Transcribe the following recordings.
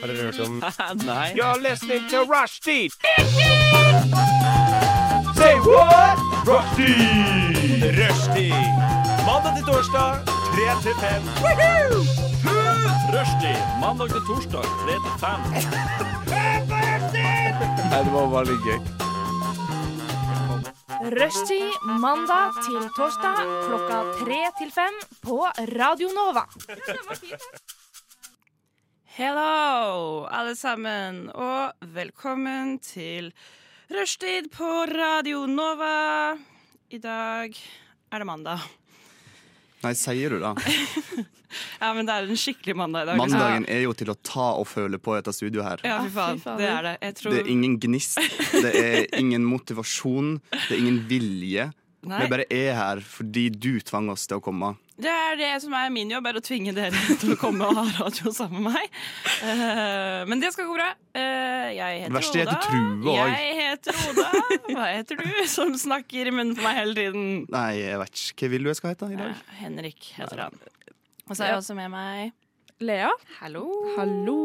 Har dere hørt om Nei. You're listening to Rushdie. Say what? Rushdie. Rushdie. Mandag til torsdag, 3 til 5. Rushdie mandag til torsdag 3 til 5. Nei, det var bare litt gøy. Rushtid mandag til torsdag klokka tre til fem på Radio Nova. Hello, alle sammen, og velkommen til Rushtid på Radio Nova. I dag er det mandag. Nei, sier du da? Ja, men det er en skikkelig mandag i dag. liksom. Mandagen er jo til å ta og føle på i dette studioet her. Ja, fy faen. Det er det. Jeg tror Det er ingen gnist, det er ingen motivasjon, det er ingen vilje. Nei, Vi bare er her fordi du tvang oss til å komme. det er det som er min jobb, er å tvinge dere til å komme og ha radio sammen med meg. Eh, men det skal gå bra. Eh, jeg heter Det verste er Oda. at du truer også. Jeg heter Oda. Hva heter du som snakker i munnen på meg hele tiden? Nei, jeg vet ikke. Hva vil du jeg skal hete i dag? Ja, Henrik heter han. Og så er jeg også med meg Lea? Hallo. Hallo.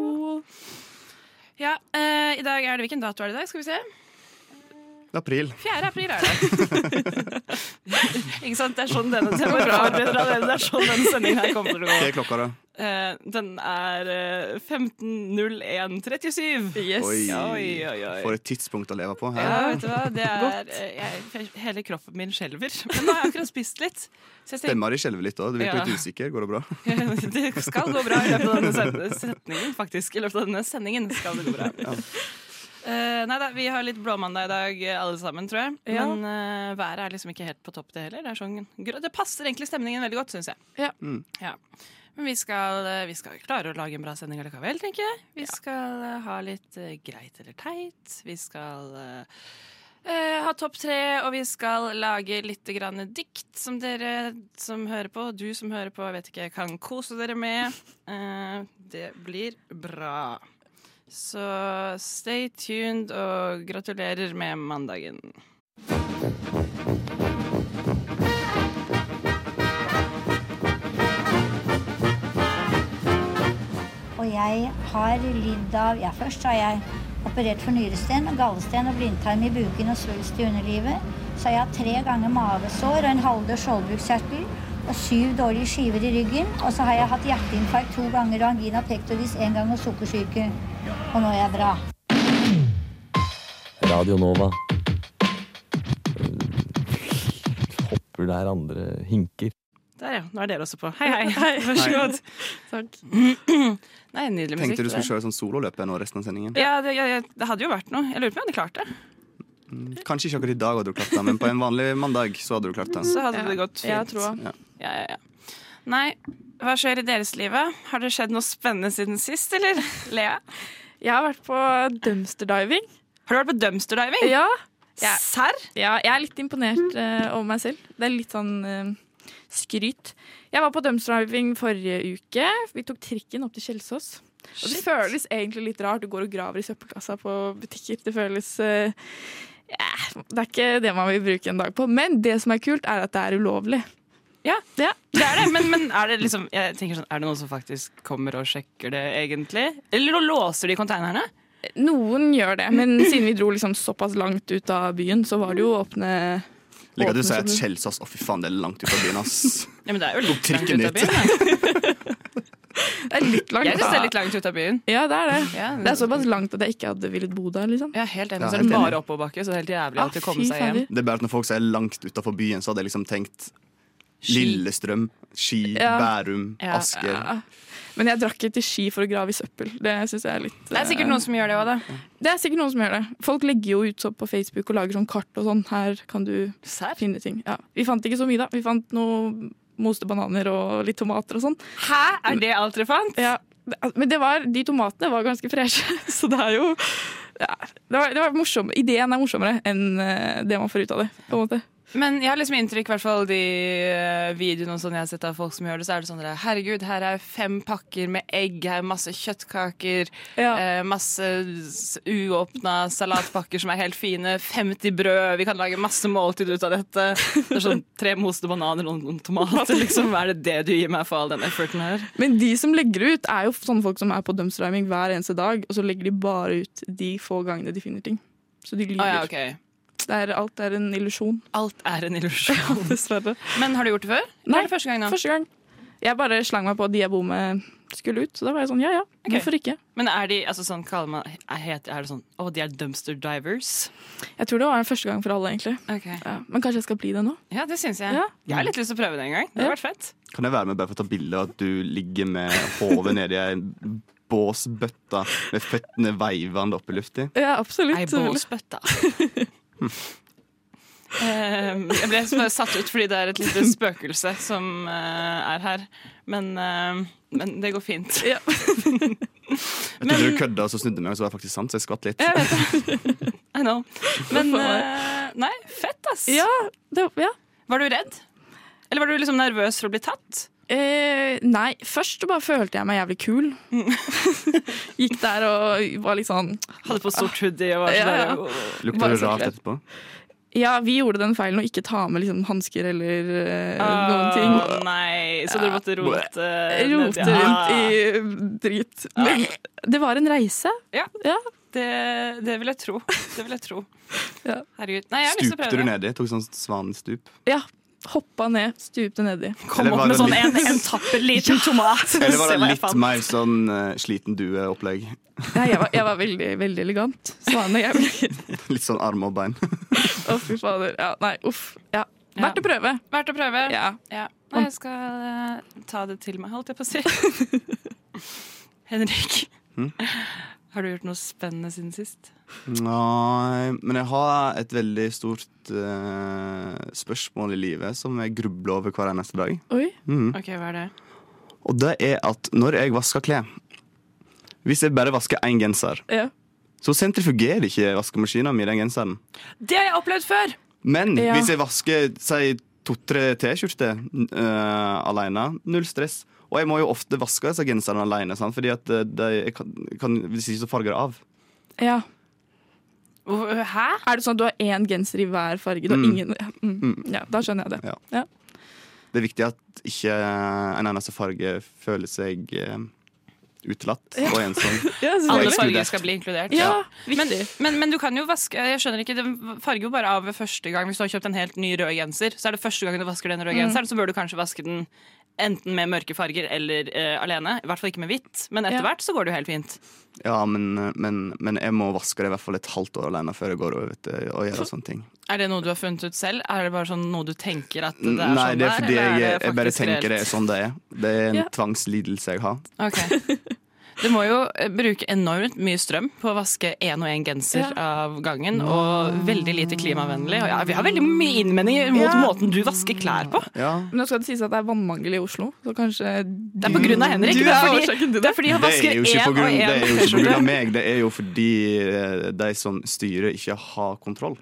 Ja, eh, i dag er det Hvilken dato er det i dag? Skal vi se. Det er april. 4. april er det. Ikke sant? Det er sånn denne det var bra, det er bra, det er sånn denne sendingen her kommer til å gå. Hva er klokka, da? Eh, den er eh, 15.01,37. Oi. Oi, oi, oi. For et tidspunkt å leve på. hæ? Ja, vet du hva? Det er, eh, jeg, hele kroppen min skjelver. Men nå har jeg akkurat spist litt. Så jeg tenker- Stemmer de skjelver litt òg? Du virker Ja. litt usikker. Går det bra? Det skal gå bra i løpet av denne sen- setningen, faktisk. I løpet av denne sendingen skal det gå bra. Eh, nei da, vi har litt blåmandag i dag, eh, alle sammen, tror jeg. Ja. Men eh, været er liksom ikke helt på topp, det heller. Det, er sånn, grå- det passer egentlig stemningen veldig godt, syns jeg. Ja. Ja. Men vi skal, eh, vi skal klare å lage en bra sending allikevel, tenker jeg. Vi skal eh, ha litt eh, greit eller teit. Vi skal eh, eh, ha topp tre, og vi skal lage litt grann dikt som dere som hører på, og du som hører på, jeg vet ikke, kan kose dere med. Eh, det blir bra. Så stay tuned, og gratulerer med mandagen. Og jeg har lidd av Ja, først har jeg operert for nyresten, og gallesten og blindtarm i buken og svulst i underlivet. Så har jeg hatt tre ganger mavesår og en halvdød skjoldbruskkjertel. Og syv dårlige skiver i ryggen. Og så har jeg hatt hjerteinfarkt to ganger og angina pectoris én gang og sukkersyke. Og nå er jeg bra. Radio Nova. Eh, Hopper der andre hinker. Der, ja. Nå er dere også på. Hei, hei. Vær så god. Takk. Nei, nydelig musikk. Tenkte du det skulle der. kjøre sånn sololøp nå resten av sendingen? Ja, det, ja, ja, det hadde jo vært noe. Jeg lurer på om jeg hadde klart det. Kanskje ikke akkurat i dag hadde du klart det, men på en vanlig mandag så hadde du klart det. Så hadde det gått fint. Jeg tror Ja. Ja, ja, ja. Nei, hva skjer i deres liv? Har det skjedd noe spennende siden sist, eller? Lea? Jeg har vært på dumpster diving. Har du vært på dumpster diving? Ja. Ja. Serr? ja, jeg er litt imponert eh, over meg selv. Det er litt sånn eh, skryt. Jeg var på dumpster diving forrige uke. Vi tok trikken opp til Kjelsås. Og det føles egentlig litt rart. Du går og graver i søppelkassa på butikker. Det føles eh, eh, Det er ikke det man vil bruke en dag på. Men det som er kult, er at det er ulovlig. Ja. ja. Det er det, men, men er det liksom Jeg tenker sånn, er det noen som faktisk kommer og sjekker det, egentlig? Eller låser de konteinerne? Noen gjør det, men siden vi dro liksom såpass langt ut av byen, så var det jo åpne Liker at du sier at sånn- åpne- Kjelsås Å, fy faen, det er langt ut av byen, ass. Ja, men det er jo litt langt trikken ut av dit. byen. da. Det er litt langt. Jeg syns det er litt langt ut av byen. Ja, det er det. Ja, Det er såpass langt at jeg ikke hadde villet bo der, liksom. Ja, helt enig. Ja, så er det helt enig. bare oppoverbakke, så det er helt jævlig Ah, alltid å komme seg hjem. fader. Det er bare at når folk sier langt utafor byen, så hadde jeg liksom tenkt Lillestrøm, Ski, Ja. Bærum, Ja. Asker. Ja. Men jeg drakk ikke til ski for å grave i søppel. Det synes jeg er litt eh, Det er sikkert noen som gjør det òg, da. Det er sikkert noen som gjør det. Folk legger jo ut sånn på Facebook og lager sånn kart og sånn. Her kan du Serr? finne ting. Ja. Vi fant ikke så mye, da. Vi fant noe moste bananer og litt tomater og sånn. Hæ? Er det alt dere fant? Ja, det- men det var, de tomatene var ganske freshe, så det er jo ja, det, var, det var morsom, Ideen er morsommere enn eh, det man får ut av det. på en måte. Men jeg har liksom inntrykk, i hvert fall de eh, videoene og sånn jeg har sett av folk som gjør det, så er det sånn der, herregud, her er fem pakker med egg, her er masse kjøttkaker, Ja. eh, masse s- uåpna salatpakker som er helt fine, 50 brød, vi kan lage masse måltid ut av dette. Det er sånn tre moste bananer og noen tomater, liksom. Er det det du gir meg for all den efforten her? Men de som legger ut, er jo sånne folk som er på dumpstriming hver eneste dag, og så legger de bare ut de få gangene de finner ting. Så de lyver. Å Ah, ja, ok. det er, alt er en illusjon, Alt er en illusjon. dessverre. Men har du gjort det før? Eller Nei, er det første gang nå? Første gang. Jeg bare slang meg på de jeg bor med skulle ut, så da var jeg sånn ja ja, hvorfor ikke? Men er de altså sånn, kaller man, er det sånn, å, de er dumpster divers? Jeg tror det var første gang for alle, egentlig. Ok. Ja, men kanskje jeg skal bli det nå? Ja, det syns jeg. Ja. Jeg har litt lyst til å prøve det en gang. Det hadde Ja. vært fett. Kan jeg være med bare for å ta bilde av at du ligger med hodet nedi ei båsbøtte med føttene veivende opp i lufta? Ja, absolutt. Ei båsbøtte. Ehm, jeg ble så bare satt ut fordi det er et lite spøkelse som eh, er her. Men, eh, men det går fint. Ja. Jeg trodde du kødda og så snudde meg, og så var det faktisk sant, så jeg skvatt litt. Jeg vet det. I know. Men Hvorfor? eh, nei, fett, ass. Ja, det, ja. Var du redd? Eller var du liksom nervøs for å bli tatt? Eh, nei, først bare følte jeg meg jævlig kul. Mm. Gikk der og var litt sånn Hadde på stort hoodie og var Ja, sånn ja. der, «Åh». Lukta Bare det rart sekret. etterpå? Ja, vi gjorde den feilen å ikke ta med liksom, hansker eller eh, Ah, noen Åh, ting. Nei, så dere måtte rote Rote Ah. rundt i drit. Men det var en reise. Ja. Ja. Det, det vil jeg tro. Det vil jeg tro. Ja. Herregud. Nei, jeg har lyst til å Stupte du prøve det. nedi? Tok sånn svanestup? ja. Hoppa ned, stupte nedi. Kom Eller opp var med det sånn en, litt- en tapper liten tomat. Eller Se var hva det jeg litt fant. mer sånn eh, sliten due-opplegg? Nei, jeg var, jeg var veldig, veldig elegant. Svane. Jeg ble, Litt sånn arm og bein. å, fy fader. Ja, nei, uff. Ja. Verdt å prøve. Verdt å prøve. Ja. Ja. Nei, jeg skal eh, ta det til meg, holdt jeg på å si. Henrik, Hmm? har du gjort noe spennende siden sist? Nei, men jeg har et veldig stort eh, spørsmål i livet som jeg grubler over hver eneste dag. Oi. Ok, hva er det? Og det er at når jeg vasker klær Hvis jeg bare vasker én genser, Ja. så sentrifugerer ikke vaskemaskinen min den genseren. Det har jeg opplevd før! Men Ja. hvis jeg vasker si, to-tre T-skjorter eh, alene, null stress. Og jeg må jo ofte vaske disse genserne alene, sant? fordi at eh, de, jeg kan, kan, hvis ikke så farger det av. ja. Hvor- Hæ? Er det sånn at du har én genser i hver farge? Du har ingen, ja, mm, ja, da skjønner jeg det. Det er viktig at ikke en eneste farge føler seg eh, utelatt og ensom. Ja, Alle selvfølgelig. farger skal bli inkludert. Ja, Men, viktig. men, men du kan jo vaske Jeg skjønner ikke, det farger jo bare av ved første gang. Hvis du har kjøpt en helt ny rød genser, så er det første gangen du vasker den røde genseren, så bør du kanskje vaske den enten med mørke farger eller eh, alene. I hvert fall ikke med hvitt. Men etter Ja. hvert så går det jo helt fint. Ja, men, men, men jeg må vaske det i hvert fall et halvt år alene før jeg går over til å gjøre sånne ting. Er det noe du har funnet ut selv? Er det bare sånn noe du tenker at det er Nei, sånn det er der, fordi eller jeg, det jeg bare faktisk tenker det reelt? er sånn det er. Det er en Ja. tvangslidelse jeg har. Ok. Du må jo eh, bruke enormt mye strøm på å vaske én og én genser av gangen, og veldig lite klimavennlig. Og ja, vi har veldig mye innvendinger mot måten du vasker klær på. Ja. Men nå skal det sies at det er vannmangel i Oslo, så kanskje Det er på grunn av Henrik. Det er fordi, årsaken til det er fordi han Det er vasker jo ikke én på og grunn, det er jo ikke på grunn av én. meg, det er jo fordi eh, de som styrer, ikke har kontroll.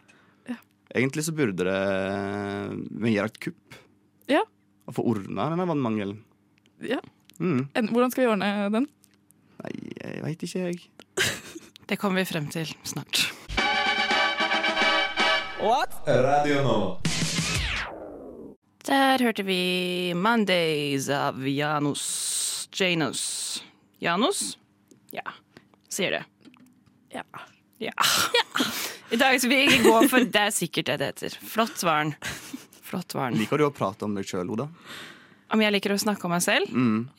Egentlig så burde det eh, vi gjøre et kupp Ja. og få ordna denne vannmangelen. Ja. Mm. En- Hvordan skal vi ordne den? Nei, jeg veit ikke, jeg. Det kommer vi frem til snart. Der hørte vi 'Mondays' av Janus Janus. Janus? Ja, sier det. Ja. Ja. I dag skal vi ikke gå for Det er sikkert det det heter. Flott var den. Flott var den. Liker du å prate om deg sjøl, Oda? Om jeg liker å snakke om meg selv?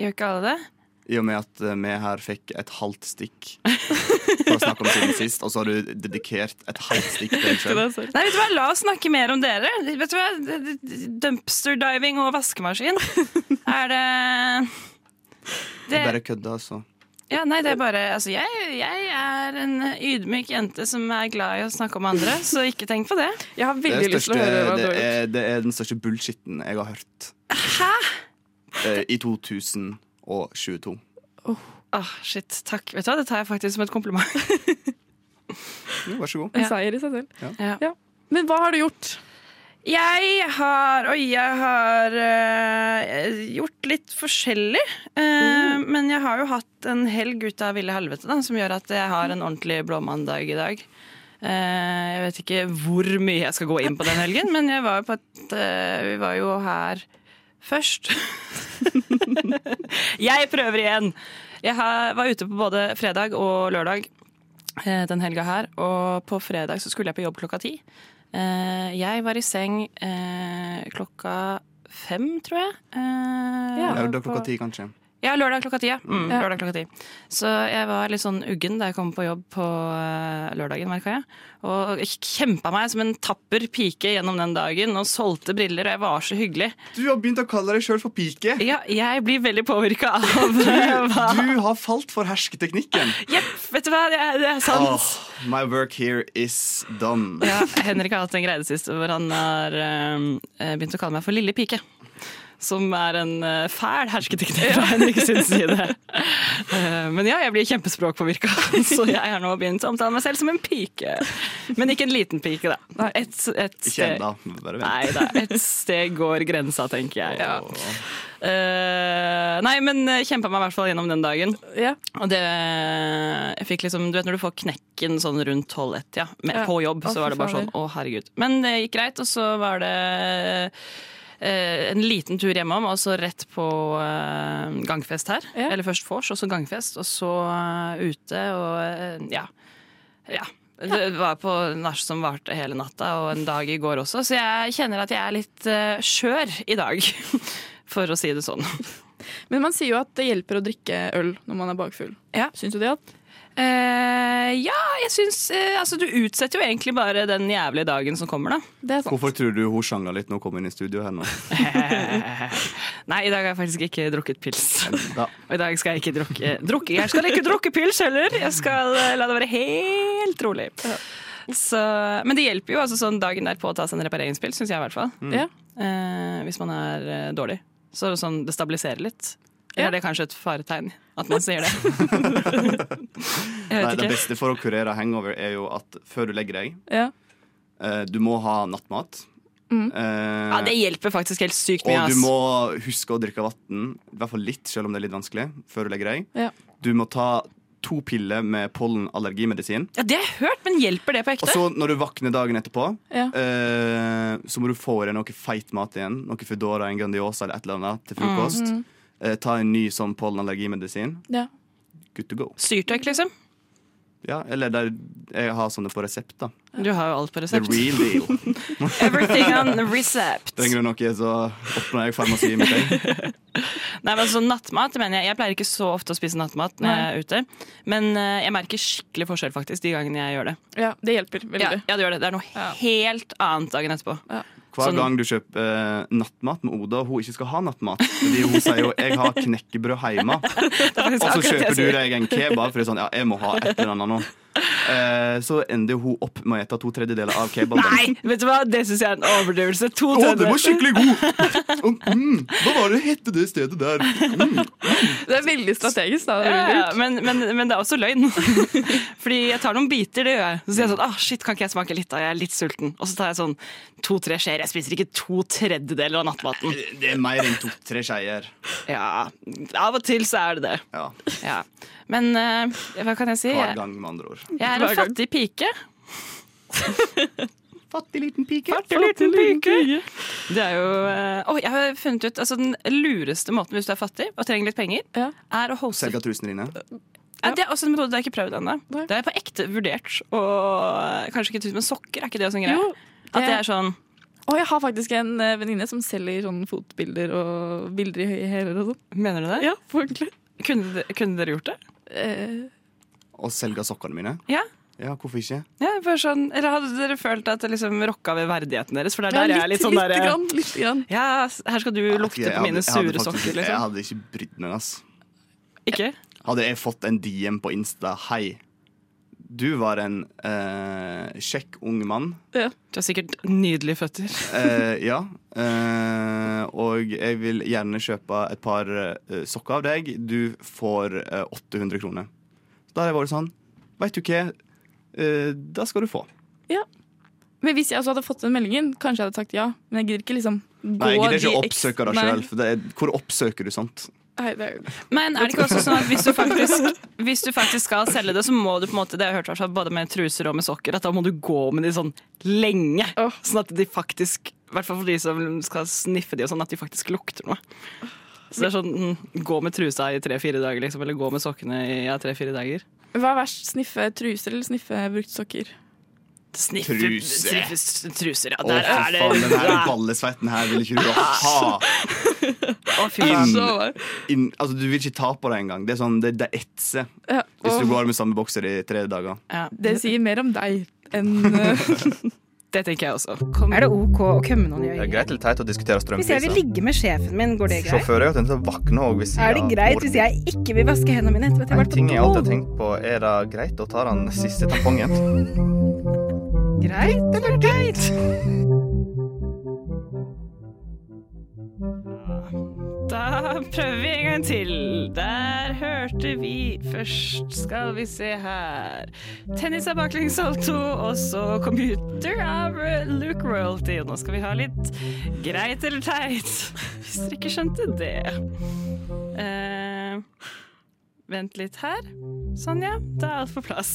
Gjør ikke alle det? I og med at eh, vi her fikk et halvt stikk for å snakke om siden sist, og så har du dedikert et halvt stikk til deg sjøl. Nei, vet du hva? La oss snakke mer om dere. Vet du hva? Dumpster diving og vaskemaskin. Er det det, Bare kødda, altså. ja, nei, det er bare altså, jeg, jeg er en ydmyk jente som er glad i å snakke om andre, så ikke tenk på det. Jeg har Det veldig er, lyst til største, å høre hva du det, har gjort. er, det er den største bullshitten jeg har hørt. Hæ? I 2022. Åh, Ah, shit, takk. Vet du hva? Det tar jeg faktisk som et kompliment. Jo, vær så god. En seier i seg selv. Ja. Men hva har du gjort? Jeg har Oi, jeg har eh, gjort litt forskjellig. Eh, Men jeg har jo hatt en helg ut av ville helvete, da, som gjør at jeg har en ordentlig blåmandag i dag. Eh, jeg vet ikke hvor mye jeg skal gå inn på den helgen, men jeg var jo på et, eh, vi var jo her først. jeg prøver igjen! Jeg har, var ute på både fredag og lørdag eh, den helga her, og på fredag så skulle jeg på jobb klokka ti. Eh, jeg var i seng eh, klokka fem, tror jeg. Eh, Ja. Lørdag klokka ti, kanskje. ja, lørdag klokka ti. Ja. Mm, Ja. lørdag klokka ti. Så jeg var litt sånn uggen da jeg kom på jobb på eh, lørdagen, merka jeg. Og jeg kjempa meg som en tapper pike gjennom den dagen og solgte briller, og jeg var så hyggelig. Du har begynt å kalle deg sjøl for pike. Ja, jeg blir veldig påvirka av eh, hva Du har falt for hersketeknikken. Jepp, vet du hva, det er, det er sant. Åh, my work here is done. Ja, Henrik har hatt en greie det siste hvor han har eh, begynt å kalle meg for lille pike. Som er en eh, fæl hersketeknikk fra Henrik sin side. Eh, men ja, jeg blir kjempespråkpåvirka, så jeg har nå begynt å omtale meg selv som en pike. Men ikke en liten pike, da. Et, et Ikke steg, ennå. Bare vent. nei da, et steg går grensa, tenker jeg. Åh. Eh, nei, men kjempa meg i hvert fall gjennom den dagen. Ja. Og det jeg fikk liksom, Du vet når du får knekken sånn rundt tolv ett, ja. Med, Ja. På jobb, Å, så fy var det bare sånn. fader. Å, herregud. Men det gikk greit, og så var det eh, en liten tur hjemom, og så rett på eh, gangfest her. Ja. Eller først vors, og så gangfest, og så eh, ute og eh, ja. ja. Det var på nach som varte hele natta, og en dag i går også, så jeg kjenner at jeg er litt eh, skjør i dag. For å si det sånn. Men man sier jo at det hjelper å drikke øl når man er bakfull. Ja. Syns du det? At? Eh, ja, jeg syns eh, Altså, du utsetter jo egentlig bare den jævlige dagen som kommer, da. Det er sant. Hvorfor tror du hun sjangla litt når hun kom inn i studio her nå? Nei, i dag har jeg faktisk ikke drukket pils. Da. Og i dag skal jeg ikke drukke, drukke. Jeg skal ikke drukke pils heller! Jeg skal eh, la det være helt rolig. Så, men det hjelper jo altså sånn dagen derpå å ta seg en repareringspils, syns jeg i hvert fall. Ja. Eh, hvis man er eh, dårlig. Så er det sånn, det stabiliserer litt. Eller Ja. er det kanskje et faretegn at man sier det? jeg Nei, vet det ikke. beste for å kurere hangover er jo at før du legger deg, Ja. eh, du må ha nattmat. Eh, Mm. Ja, det hjelper faktisk helt sykt mye. og du ass. må huske å drikke vann, i hvert fall litt, selv om det er litt vanskelig, før du legger deg. Ja. Du må ta to piller med pollenallergimedisin. Ja, Det har jeg hørt, men hjelper det på Og ekte? så når du våkner dagen etterpå, Ja. eh, så må du få i deg noe feit mat igjen. Noe Foodora, en Grandiosa eller et eller annet til frokost. Mm. Eh, ta en ny sånn pollenallergimedisin. Mm. Ja. Good to go. Syrtøyk, liksom. Ja, eller der jeg har sånne på resept, da. Du har jo alt på The resept. real deal. Everything on resept. Trenger du noe, så åpner jeg farmasiet mitt. jeg. Nei, men altså Nattmat mener jeg. Jeg pleier ikke så ofte å spise nattmat når jeg er ute. Men eh, jeg merker skikkelig forskjell faktisk de gangene jeg gjør det. ja, det hjelper Ja, veldig. ja, det, gjør det. det er noe helt annet dagen etterpå. Hver Sånn. gang du kjøper eh, nattmat med Oda, og hun ikke skal ha nattmat Fordi hun sier jo 'jeg har knekkebrød hjemme', og så kjøper du deg en kebab fordi sånn 'ja, jeg må ha et eller annet nå'. Eh, så ender hun opp med å spise to tredjedeler av kebaben. Nei, vet du hva? Det syns jeg er en overdrivelse. To Å, den var tredjedeler. skikkelig god! Og, Mm, hva var det hette det stedet der? Mm. Det er veldig strategisk. Da. Det er Ja, veldig ja, lurt. men, men, men det er også løgn. Fordi jeg tar noen biter, det gjør jeg. Så sier jeg sånn ah, shit, kan ikke jeg smake litt da, jeg er litt sulten. Og så tar jeg sånn to-tre skjeer. Jeg spiser ikke to tredjedeler av nattmaten. Det- Det er mer enn to-tre skeier. Ja, av og til så er det det. Ja, Ja. Men eh, hva kan jeg si? hver Jeg, gang, med andre ord. jeg er Hver en gang. fattig pike. Fattig liten pike. Fattig liten pike. Det er jo eh, Å, jeg har funnet ut altså, Den lureste måten hvis du er fattig og trenger litt penger, Ja. er å hoste Selge trusene dine. ja, Det er også en metode jeg har ikke prøvd ennå. Nei. Det er på ekte vurdert. Og kanskje ikke tusen, men sokker er ikke det også en greie? Jo, At det det- er sånn Og jeg har faktisk en eh, venninne som selger sånne fotbilder og bilder i høye hæler og sånn. Mener du det? Ja, på ordentlig. Kunne, de- kunne dere gjort det? Eh, Og selge sokkene mine. Ja. Ja, hvorfor ikke? ja bare sånn, eller hadde dere følt at det liksom rokka ved verdigheten deres? For det er ja, der jeg er litt sånn lite derre grann, lite grann. Ja, her skal du lukte Jeg på hadde- mine jeg sure hadde faktisk sokker, ikke- Jeg liksom. hadde ikke brydd meg. ass. Ikke? Hadde jeg fått en DM på Insta 'Hei, du var en eh, kjekk ung mann'. Du har sikkert nydelige føtter. Eh, ja. eh, og jeg vil gjerne kjøpe et par eh, sokker av deg. Du får eh, 800 kroner. Så da hadde jeg vært sånn Veit du hva, Eh, da skal du få. Men hvis jeg også hadde fått den meldingen, kanskje jeg hadde sagt ja. Men jeg gidder ikke liksom gå Nei, jeg gidder de ikke å ekstra- oppsøke det Nei. sjøl. for det er- Hvor oppsøker du sant? Nei, det er jo- Men er det ikke også sånn at hvis du faktisk, hvis du faktisk skal selge det, så må du på en måte, det har jeg hørt i hvert fall, både med truser og med sokker, at da må du gå med de sånn lenge. Åh. Sånn at de faktisk, i hvert fall for de som skal sniffe de og sånn, at de faktisk lukter noe. Så det er sånn, mm, gå med trusa i tre-fire dager, liksom, eller gå med sokkene i ja, tre-fire dager. Hva er verst, sniffe truser eller sniffe brukte sokker? Sniff, Truse. sniff- Truser, ja. Å, fy Der er det. faen, den her ballesveiten her vil ikke du ha. Å, fy faen. Inn, Så var- inn, altså, du vil ikke ta på det engang. Det er sånn, det, det etser Ja, hvis du åh, går med samme bokser i tre dager. Ja, det sier mer om deg enn eh, det tenker jeg også. Er det OK å kømme noen i Det er øyet? greit eller teit å diskutere Hvis jeg vil strømpriser. ligge med sjefen min, går det greit? Sjåfører er jo tenkt å våkne òg hvis Er det greit hvis jeg ikke vil vaske hendene mine etter at jeg har En ting jeg alltid har vært på do? tenkt på, er det greit å ta den siste tampongen? Greit eller teit? Da prøver vi en gang til. Der hørte vi først, skal vi se her Tennis av baklengs salto, og så computer av eh, Luke Royalty. Nå skal vi ha litt greit eller teit, hvis dere ikke skjønte det. Eh, vent litt her. Sånn, ja. Da er alt på plass.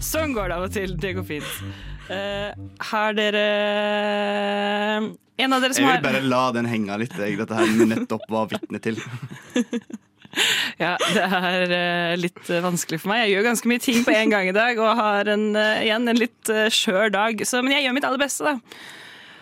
sånn går det av og til. Det går fint. Eh, har dere En av dere Jeg som vil har bare la den henge litt, jeg, dette her vi nettopp var vitne til. Ja, det er eh, litt eh, vanskelig for meg. Jeg gjør ganske mye ting på en gang i dag, og har en, eh, igjen en litt eh, skjør dag. Så, men jeg gjør mitt aller beste, da.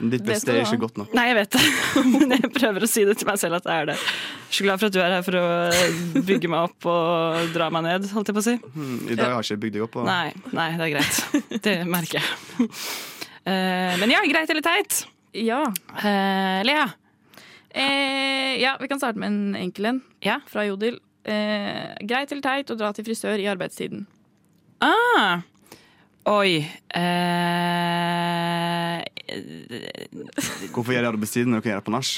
Ditt Det beste skal du er ha. ikke godt nok. Nei, jeg vet det, men jeg prøver å si det til meg selv at det er det. Jeg er Så glad for at du er her for å eh, bygge meg opp og dra meg ned, holdt jeg på å si. Hmm, I dag har jeg ikke bygd deg opp. og- Nei, nei, det er greit. Det merker jeg. Eh, Men ja, greit eller teit? Ja. Eh, Lea, Eh, ja, vi kan starte med en enkel en Ja. fra Jodel. Eh, greit eller teit å dra til frisør i arbeidstiden? Ah. Oi eh, Hvorfor gjør jeg arbeidstiden når du kan gjøre det på nach?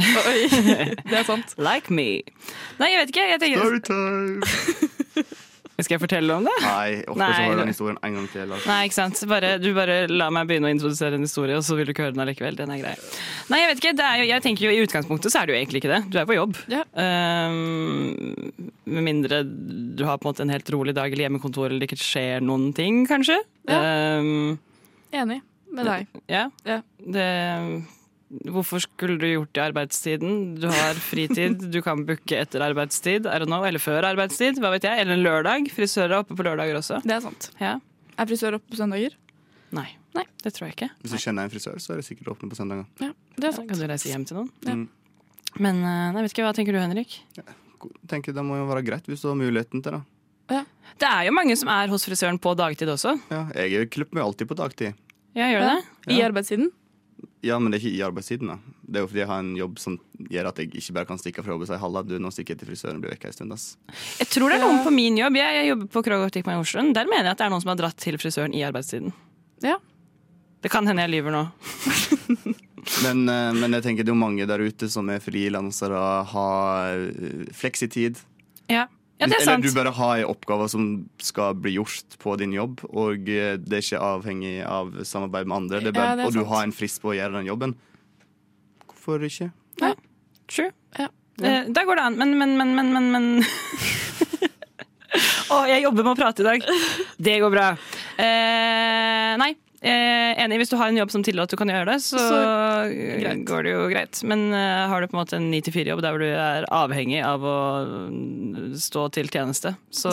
Oi, det er sant. Like me. Nei, jeg vet ikke. Jeg tenker, Storytime! skal jeg fortelle om det? Nei, jeg orker Nei, ikke å høre det- den historien en gang til. altså. Nei, ikke sant. Bare, du bare la meg begynne å introdusere en historie, og så vil du ikke høre den allikevel. Den er grei. Nei, jeg vet ikke. Det er jo, jeg tenker jo I utgangspunktet så er det jo egentlig ikke det. Du er på jobb. Ja. Ehm, med mindre du har på en måte en helt rolig dag eller hjemmekontor eller det ikke skjer noen ting, kanskje. Ja. Ehm, Enig med deg. ja. Ja. Det, hvorfor skulle du gjort det i arbeidstiden? Du har fritid, du kan booke etter arbeidstid, I don't know, eller før arbeidstid, hva vet jeg. Eller en lørdag. Frisører er oppe på lørdager også. Det er sant. Ja. Er frisør oppe på søndager? Nei. Nei. det tror jeg ikke. Hvis du kjenner en frisør, så er det sikkert åpne på søndager. Ja, det Da er sant. kan du reise hjem til noen. Ja. Mm. Men eh, nei, vet ikke, hva tenker du, Henrik? Tenker Det må jo være greit hvis du har muligheten til det. Det er jo mange som er hos frisøren på dagtid også. Ja, jeg klipper meg alltid på dagtid. Ja, gjør Ja. det? I arbeidstiden? Ja, men det er ikke i arbeidstiden. da Det er jo fordi jeg har en jobb som gjør at jeg ikke bare kan stikke fra jobb og si halla, du, nå stikker jeg til frisøren og blir vekk en stund. ass. Jeg tror det er noen Ja. på min jobb. Jeg, jeg jobber på Krog Optikma i Oslo. Der mener jeg at det er noen som har dratt til frisøren i arbeidstiden. Ja. Det kan hende jeg lyver nå. Men, eh, men jeg tenker det er jo mange der ute som er frilansere, har eh, fleksitid. Ja, ja det er Eller sant. du bare har en oppgave som skal bli gjort på din jobb, og eh, det er ikke avhengig av samarbeid med andre. Det er bare, Ja, det er og du sant. har en frist på å gjøre den jobben. Hvorfor ikke? True. Ja. Eh, Da går det an. Men, men, men, men, men, men. Å, jeg jobber med å prate i dag. Det går bra. Eh, nei. Eh, enig, hvis du har en jobb som tillater at du kan gjøre det, så, eh, Så, greit. går det jo greit. Men eh, har du på en måte en 9-4-jobb der hvor du er avhengig av å mm, stå til tjeneste, så,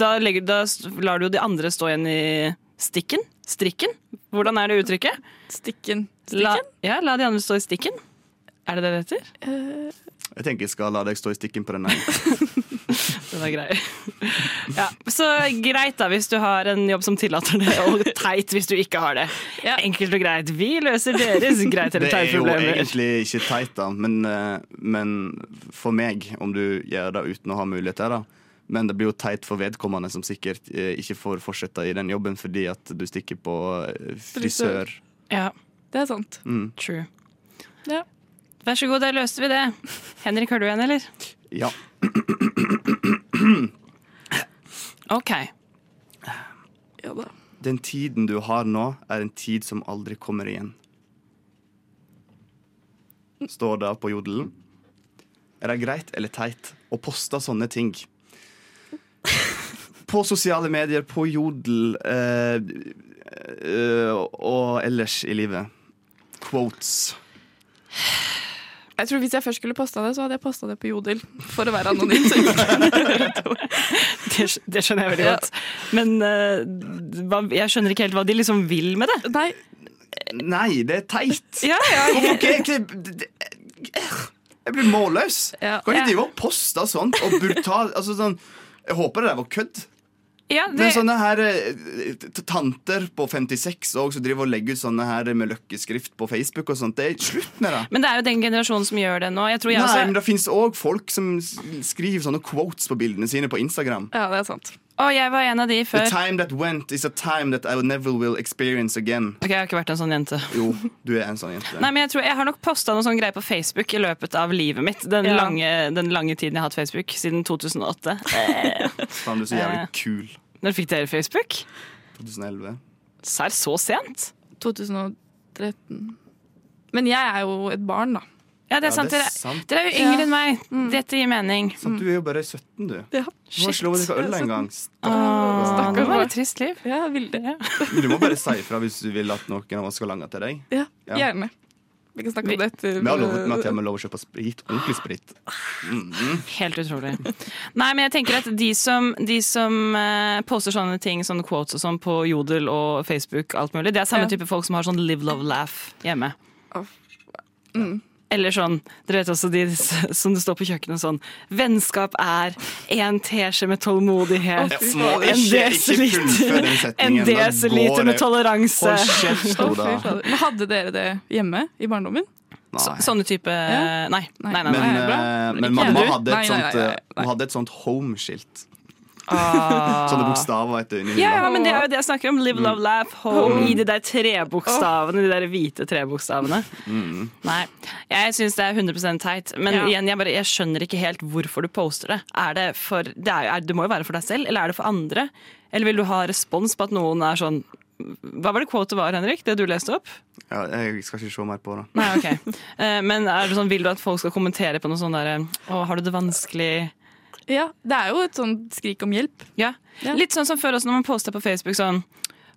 da, legger, da lar du jo de andre stå igjen i stikken? Strikken? Hvordan er det uttrykket? Stikken. La, Stikken? ja, la de andre stå i stikken. Er det det det heter? Eh, Jeg tenker jeg skal la deg stå i stikken på den ene. Den er grei. Ja, så greit da hvis du har en jobb som tillater det, og teit hvis du ikke har det. Ja. Enkelt og greit. Vi løser deres greit Det eller er jo teit-problemer. egentlig ikke teit, da, men, eh, men for meg, om du gjør det uten å ha mulighet til det. Men det blir jo teit for vedkommende som sikkert eh, ikke får fortsette i den jobben fordi at du stikker på eh, Frisør. frisør. Ja, det er sant. Mm. true. Ja. Vær så god, da løste vi det. Henrik, har du en, eller? Ja. OK. Ja da. Den tiden du har nå, er en tid som aldri kommer igjen. Står det på jodelen. Er det greit eller teit å poste sånne ting? På sosiale medier, på jodel eh, eh, og ellers i livet. Quotes. Jeg tror Hvis jeg først skulle posta det, så hadde jeg posta det på Jodel. For å være anonym. Så ikke Det, skj- det skjønner jeg veldig Ja. godt. Men eh, hva, jeg skjønner ikke helt hva de liksom vil med det. Nei, Nei, det er teit! Ja, ja. Hvorfor ikke? Det- det- det- eh, Jeg blir målløs. Ja. Kan ikke Ja. drive og poste sånt og brutal altså sånn, Jeg håper det der var kødd. Det er det, sånne her eh, t- tanter på 56 også, som driver og legger ut sånne her med løkkeskrift på Facebook og sånt. Det er slutt med det. men det er jo den generasjonen som gjør det nå. Jeg tror jeg Nei, men også, det fins òg folk som s- skriver sånne quotes på bildene sine på Instagram. ja, det er sant. å, jeg var en av de The før. time that went is a time that I never will experience again. Ok, Jeg har ikke vært en sånn jente. Jo, du er en sånn jente. Nei, men Jeg tror jeg har nok posta noe sånn greier på Facebook i løpet av livet mitt. Den, Ja. lange, den lange tiden jeg har hatt Facebook, siden 2008. Faen, du er så eh, jævlig kul. Når fikk dere Facebook? 2011. Serr, så sent? 2013. Men jeg er jo et barn, da. Ja, det er Ja, sant. det er Dere, sant. dere er jo yngre Ja. enn meg. Dette gir mening. Sant, du er jo bare 17, du. Du må Shit. slå og drikke øl en gang. Ah. Åh, det var barn. et trist liv. Ja, Vilde. Du må bare si ifra hvis du vil at noen av oss skal lange til deg. Ja, Ja. gjerne. Vi kan snakke om det etter. Vi har lovet med at jeg må lov å kjøpe sprit, ordentlig sprit. Helt utrolig. Nei, men jeg tenker at de som, de som eh, poster sånne ting, sånne quotes og sånn på Jodel og Facebook, alt mulig, det er samme Ja. type folk som har sånn live, love, laugh hjemme. Åh. Eller sånn, dere vet også de s- som det står på kjøkkenet sånn Vennskap er en teskje med tålmodighet. Jeg må En ikke, ikke desiliter fullføre den en setningen. da går desiliter med det- toleranse. Hold Å, kjeft, fy Oda. fader. Men hadde dere det hjemme i barndommen? Så, Nei. sånne type Ja. Nei. nei, nei, nei. Men, Nei, bra. eh, men Ikke mamma jeg, du. hadde et Nei, nei, sånt, nei, eh, nei. hun hadde et sånt home-skilt. Ah. Sånne bokstaver vet du, inni Ja, hylla. ja, men det er jo det jeg snakker om. Live, love, laugh, home. I de der trebokstavene. De der hvite trebokstavene. Nei, jeg syns det er 100 teit. Men Ja. igjen, jeg, bare, jeg skjønner ikke helt hvorfor du poster det. Er det, for, det, er, jo- er, det må jo være for deg selv, eller er det for andre? Eller vil du ha respons på at noen er sånn Hva var det quotet var, Henrik? Det du leste opp? Ja, jeg skal ikke se mer på det. Nei, ok. Eh, Men er det sånn, vil du at folk skal kommentere på noe sånn derre Å, har du det vanskelig? Ja, Det er jo et sånt skrik om hjelp. Ja. Ja. Litt sånn som før også når man poster på Facebook sånn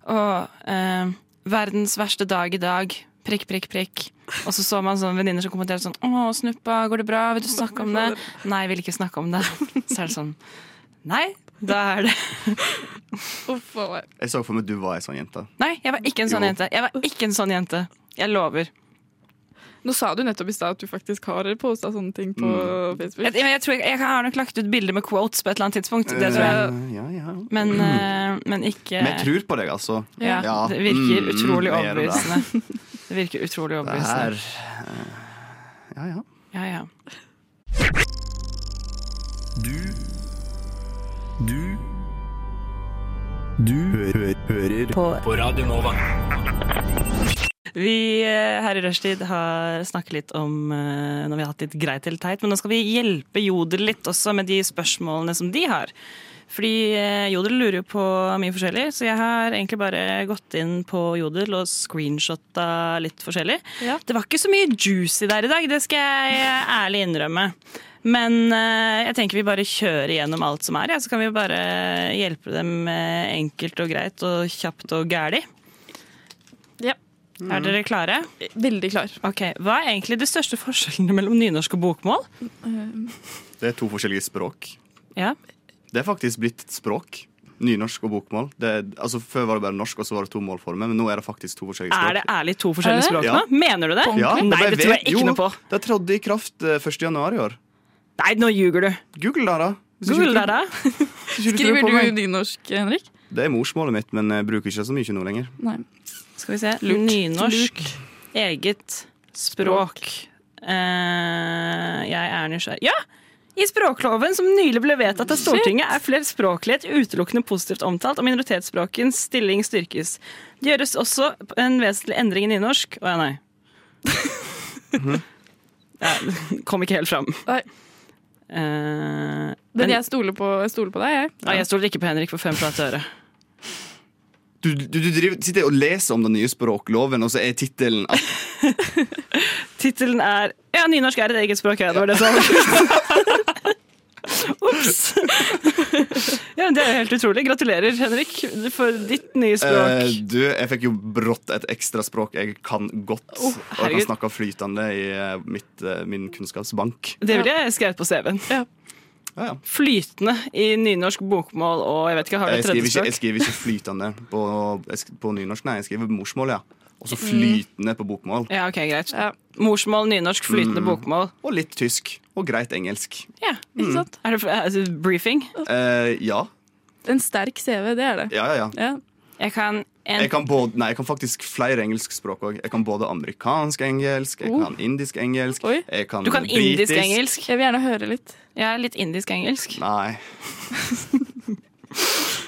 Å, eh, verdens verste dag i dag. Prikk, prikk, prikk. Og så så man sånn venninner som kommenterte sånn Å, snuppa, går det bra? Vil du snakke om det? Nei, vil ikke snakke om det. Så er det sånn Nei, da er det Uff, å, nei. Jeg så for meg at du var ei sånn jente. Nei, jeg var ikke en sånn Jo. jente. Jeg var ikke en sånn jente. Jeg lover. Nå sa du nettopp i stad at du faktisk har posta sånne ting på Mm. Facebook. Jeg, jeg, jeg, tror jeg, jeg har nok lagt ut bilder med quotes på et eller annet tidspunkt. Det tror jeg. Eh, Ja, ja. Men, eh, men ikke Men jeg tror på deg, altså. ja, Ja. Det virker Mm, utrolig det gjør det. overbevisende. Det virker utrolig Det overbevisende. her eh, Ja, ja. Ja, ja. På Radio Nova. Vi eh, her i Rushtid har snakket litt om eh, når vi har hatt litt greit eller teit, men nå skal vi hjelpe Jodel litt også med de spørsmålene som de har. Fordi eh, Jodel lurer jo på mye forskjellig, så jeg har egentlig bare gått inn på Jodel og screenshotta litt forskjellig. Ja. Det var ikke så mye juicy der i dag, det skal jeg eh, ærlig innrømme. Men eh, jeg tenker vi bare kjører gjennom alt som er, ja, så kan vi bare hjelpe dem eh, enkelt og greit og kjapt og gæli. Ja. Er dere klare? Veldig klar. Ok, Hva er egentlig de største forskjellene mellom nynorsk og bokmål? Det er to forskjellige språk. Ja, Det er faktisk blitt et språk. Nynorsk og bokmål. Det er, altså, før var det bare norsk, og så var det to målformer, men nå er det faktisk to forskjellige språk. Er det ærlig to forskjellige Er språk det? nå? Mener du det? Ja, Nei, bare det tror jeg vet- ikke jo, noe på. Det trådte i kraft eh, 1. januar i år. Nei, nå ljuger du. Google det, da. Hvis ikke Google du deg da. tror- hvis ikke du tror Skriver på meg. du nynorsk, Henrik? Det er morsmålet mitt, men jeg bruker ikke det så mye nå lenger. Nei. Skal vi se. Nynorsk. Eget språk. Eh, jeg er nysgjerrig. Ja! I språkloven som nylig ble vedtatt av Stortinget, er flerspråklighet utelukkende positivt omtalt, og minoritetsspråkens stilling styrkes. Det gjøres også en vesentlig endring i nynorsk Å ja, nei. Jeg kom ikke helt fram. Nei. Eh, Men men, jeg stoler på, jeg stoler på deg, jeg. ja, jeg stoler ikke på Henrik for fem flate øre. Du, du, du driver, sitter og leser om den nye språkloven, og så er tittelen at Tittelen er Ja, nynorsk er et eget språk, ja. Det var det som var Ops. ja, men det er jo helt utrolig. Gratulerer, Henrik, for ditt nye eh, språk. Du, jeg fikk jo brått et ekstra språk jeg kan godt, Oh, og jeg kan herregud. snakke flytende i eh, mitt, eh, min kunnskapsbank. Det ville jeg skrevet på CV-en. Ja, ja. Flytende i nynorsk bokmål og jeg vet ikke, har du Jeg et skriver, tredje ikke, jeg språk? skriver ikke flytende på, jeg sk- på nynorsk, nei. Jeg skriver morsmål, ja. Og Mm. så flytende på bokmål. Ja, ok, greit. Ja. Morsmål, nynorsk, flytende Mm. bokmål. Og litt tysk. Og greit engelsk. Ja. Ikke Mm. sant? Er det er det briefing? Eh, ja. En sterk CV, det er det. Ja, ja, ja. Ja. Jeg kan en Jeg kan, både, nei, jeg kan faktisk flere engelskspråk òg. Jeg kan både amerikansk-engelsk, jeg kan indisk-engelsk Oi. jeg kan Oh. Du kan britisk. indisk-engelsk. Jeg vil gjerne høre litt. Jeg er litt indisk-engelsk. Nei.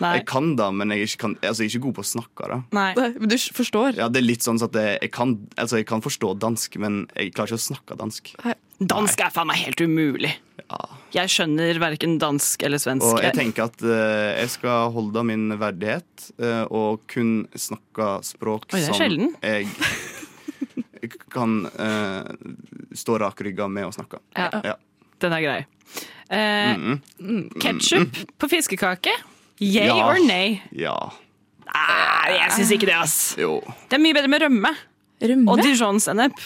Nei. Jeg kan det, men jeg er ikke, kan, altså, jeg er ikke god på å snakke det. Nei. Nei, Men du forstår. Ja, det er litt sånn at jeg, jeg, kan, altså, jeg kan forstå dansk, men jeg klarer ikke å snakke dansk. Dansk er faen meg helt umulig. Jeg skjønner verken dansk eller svensk. Og jeg tenker at eh, jeg skal holde min verdighet eh, og kun snakke språk Oi, det er som sjelden. jeg kan eh, stå rakrygga med å snakke. Ja. Ja. Den er grei. Eh, Ketsjup på fiskekake? Yay Ja. or nay? Ja. Nei, jeg syns ikke det, ass. Jo. Det er mye bedre med rømme og Rømme? dijonsennep.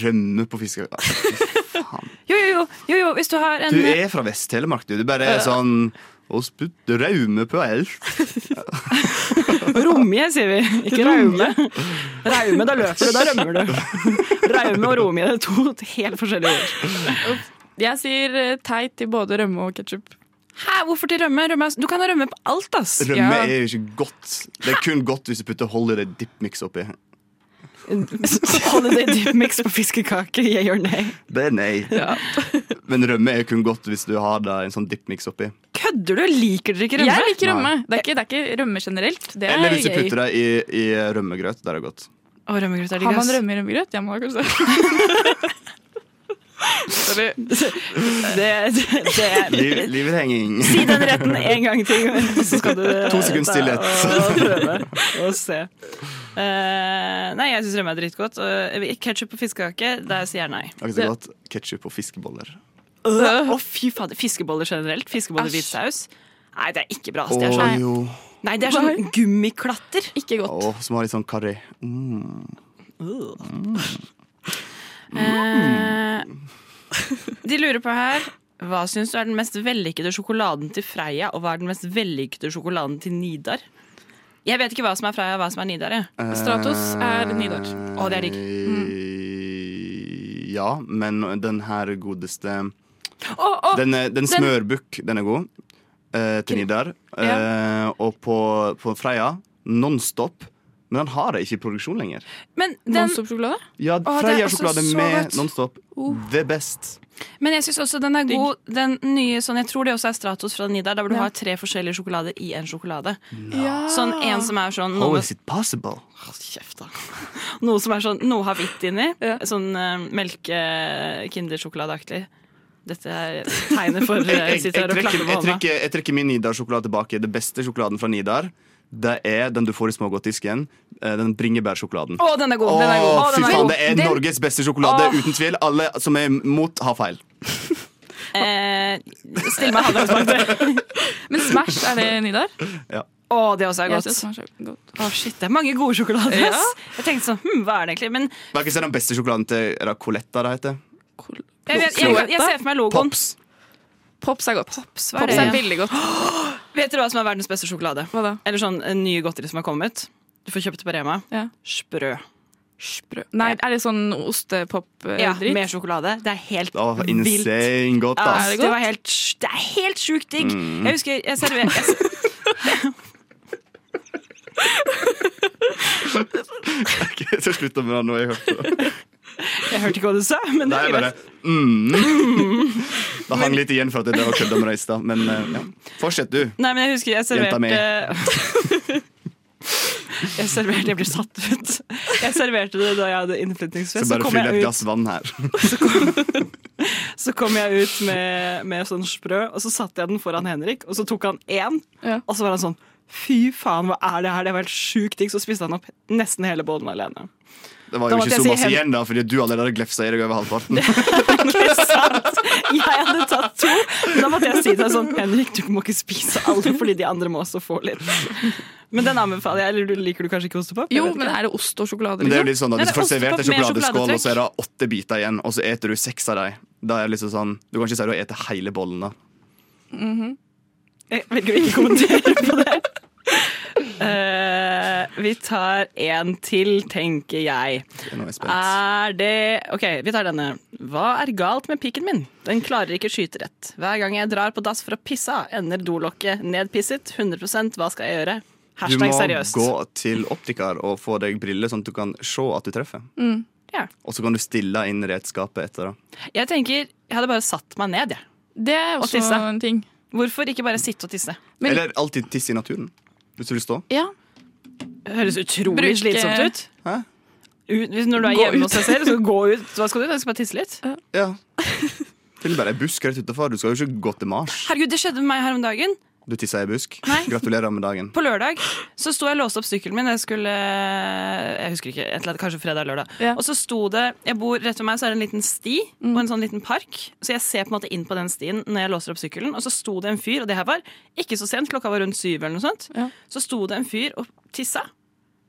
Rømme på fiskekake. Jo, jo, jo, jo, jo, hvis du har en Du er fra Vest-Telemark, du. Det bare er sånn å spytte raume på alt. eh, Romje, sier vi. Ikke raume. Raume, da løper du, da rømmer du. Raume og romje det er to helt forskjellige ord. Jeg sier eh, teit til både rømme og ketsjup. Hæ, hvorfor til rømme? rømme? er- Du kan ha rømme på alt, ass. Rømme Ja. er jo ikke godt. Det er kun godt hvis du putter Holiday Dip Mix oppi. Holiday dip mix på fiskekake, yay or nay? Det er nei. Men rømme er kun godt hvis du har da en sånn dip mix oppi. Kødder du? Liker dere ikke rømme? Jeg liker rømme. Det er ikke, det er ikke rømme generelt. Det er Eller hvis du gøy. putter det i, i rømmegrøt. Der er det godt. Å, rømmegrøt er digg, Har ass. man rømme i rømmegrøt? Ja, man har kanskje det. Det, det, det. Liv, livrenging. Si den retten en gang til, og så skal du eh, To sekunds stillhet. ta og prøve å se. Eh, nei, jeg syns rømme er dritgodt. Ketsjup på fiskekake, der sier jeg nei. Akkurat så godt. Ketsjup og fiskeboller. Å, fy fader. Fiskeboller generelt. Fiskeboller Æsj. hvit saus. Nei, det er ikke bra. ass. Å Det er sånn, jo. nei, det er sånn Nei. gummiklatter. Ikke godt. Å, som har litt sånn karri. Eh, de lurer på her Hva syns du er den mest vellykkede sjokoladen til Freia, og hva er den mest vellykkede sjokoladen til Nidar? Jeg vet ikke hva som er Freia og hva som er Nidar. Jeg. Stratos er Nidar. Å, det er digg. Mm. Eh, Ja, men den her godeste Å, å, Den, er- den smørbukk, den er god. Eh, til Nidar. Eh, og på, på Freia, Nonstop. Men han har det ikke i produksjon lenger. men, den, Nonstop-sjokolade? Ja, er også Freia-sjokolade så med godt. Uh. Nonstop. The best. men jeg syns også den er god. Den nye sånn, Jeg tror det også er Stratos fra Nidar, der hvor du Ja. Ah. har tre forskjellige sjokolader i en sjokolade. Ja. Sånn en som er sånn How noe, is it possible? Hold kjeft, da. noe som er sånn Noe har hvitt inni. Ja. Sånn eh, melke-kindersjokoladeaktig. Dette er tegnet for eh, Jeg, jeg, sitter her og trekker, klapper jeg, på hånda. trekker, jeg trekker min Nidar-sjokolade tilbake. Det beste sjokoladen fra Nidar Det er den du får i smågodtdisken. eh, Den bringebærsjokoladen. Å, den er god! Den er god. Å, Å, den fy er faen, god. det er Den- Norges beste sjokolade, uten tvil. Alle som er imot, har feil. Eh, still meg handlingsmakter. Men Smash, er det Nidar? Å, det også er Jeg godt. synes Smash er godt. Å, shit, det er mange gode sjokolader. Ja. ass. Jeg tenkte sånn, hm, hva er det egentlig? Men Hva er den beste sjokoladen til Er det Coletta det heter? Cool. jeg, vet, jeg, jeg, jeg ser for meg logoen. Pops. Pops er godt. Pops, hva er Pops er det? veldig godt. Vet dere hva som er verdens beste sjokolade? Hva da? Eller sånn eh, nye godteri som har kommet? Du får kjøpt det på Rema. Ja. Sprø. Sprø. Nei, er det sånn eh, ostepop-dritt? Ja, med sjokolade. Det er helt Å, vilt. insane godt, Ja, ass. Mm. Er det det, godt? var helt, sj- det er helt sjukt digg. Jeg husker jeg serverte jeg, s- Jeg skal slutte med det nå. Jeg hørte det. jeg hørte ikke hva du sa, men det Nei, er jeg bare, greit. mm. Det hang litt igjen for at jeg drev og kødda med deg i stad, men eh, ja. fortsett, du. Nei, men jeg husker jeg Jenta mi. serverte Jeg serverte, jeg blir satt ut. Jeg serverte det da jeg hadde Så innflytningsfest. Så bare kom fyll et jeg ut, glass vann her. Så kom jeg ut med, med sånn sprø, og så satte jeg den foran Henrik, og så tok han én, Ja. og så var han sånn Fy faen, hva er det her? Det var helt sjukt digg. Så spiste han opp nesten hele bollen alene. Det var Da jo måtte ikke jeg så si masse hen- igjen, da, fordi du allerede glefsa i deg over halvparten. Ikke sant? Jeg hadde tatt to, men da måtte jeg si til deg sånn Henrik, du må ikke spise alle fordi de andre må også få litt. Men den anbefaler jeg. Eller du- liker du kanskje ikke ostepop? Jeg Jo, vet ikke. men er det ost og sjokolade? Men det er jo Liksom? litt sånn at Nei, Hvis det er du får servert en ostepop med sjokoladeskål, og så sjokoladetrekk. er det åtte biter igjen, og så eter du seks av dem, da er det liksom sånn Du kan ikke si du har spist hele bollen, da. Jeg velger å ikke kommentere på det. Eh, vi tar en til, tenker jeg. Det er noe jeg er spent. Er det OK, vi tar denne. Hva er galt med pikken min? Den klarer ikke skyte rett. Hver gang jeg drar på dass for å pisse av, ender dolokket nedpisset. 100 hva skal jeg gjøre? Du Hashtag må seriøst. gå til optiker og få deg briller, sånn at du kan se at du treffer. Mm, Ja. Og så kan du stille inn redskapet etter. Da. Jeg tenker, jeg hadde bare satt meg ned, jeg. sånn- Det er også tisse. en ting. Hvorfor ikke bare sitte og tisse? Men- Eller alltid tiss i naturen. Hvis du vil stå. Ja. Høres utrolig Bruke- slitsomt ut. Hæ? Ut, hvis når du er Gå hjemme ut. hos deg selv, så gå ut. Hva skal du? Jeg skal bare tisse litt. Ja. Til og med ei busk rett utafor. Du skal jo ikke gå til Mars. Herregud, det skjedde med meg her om dagen. Du tissa i ei busk. Nei. Gratulerer med dagen. På lørdag så sto jeg og låste opp sykkelen min. Jeg skulle Jeg husker ikke. Et eller annet, kanskje fredag eller lørdag. Ja. Og så sto det Jeg bor rett ved meg, så er det en liten sti og en sånn liten park. Så jeg ser på en måte inn på den stien når jeg låser opp sykkelen. Og så sto det en fyr, og det her var ikke så sent, klokka var rundt syv eller noe sånt. Ja. Så sto det en fyr og tissa.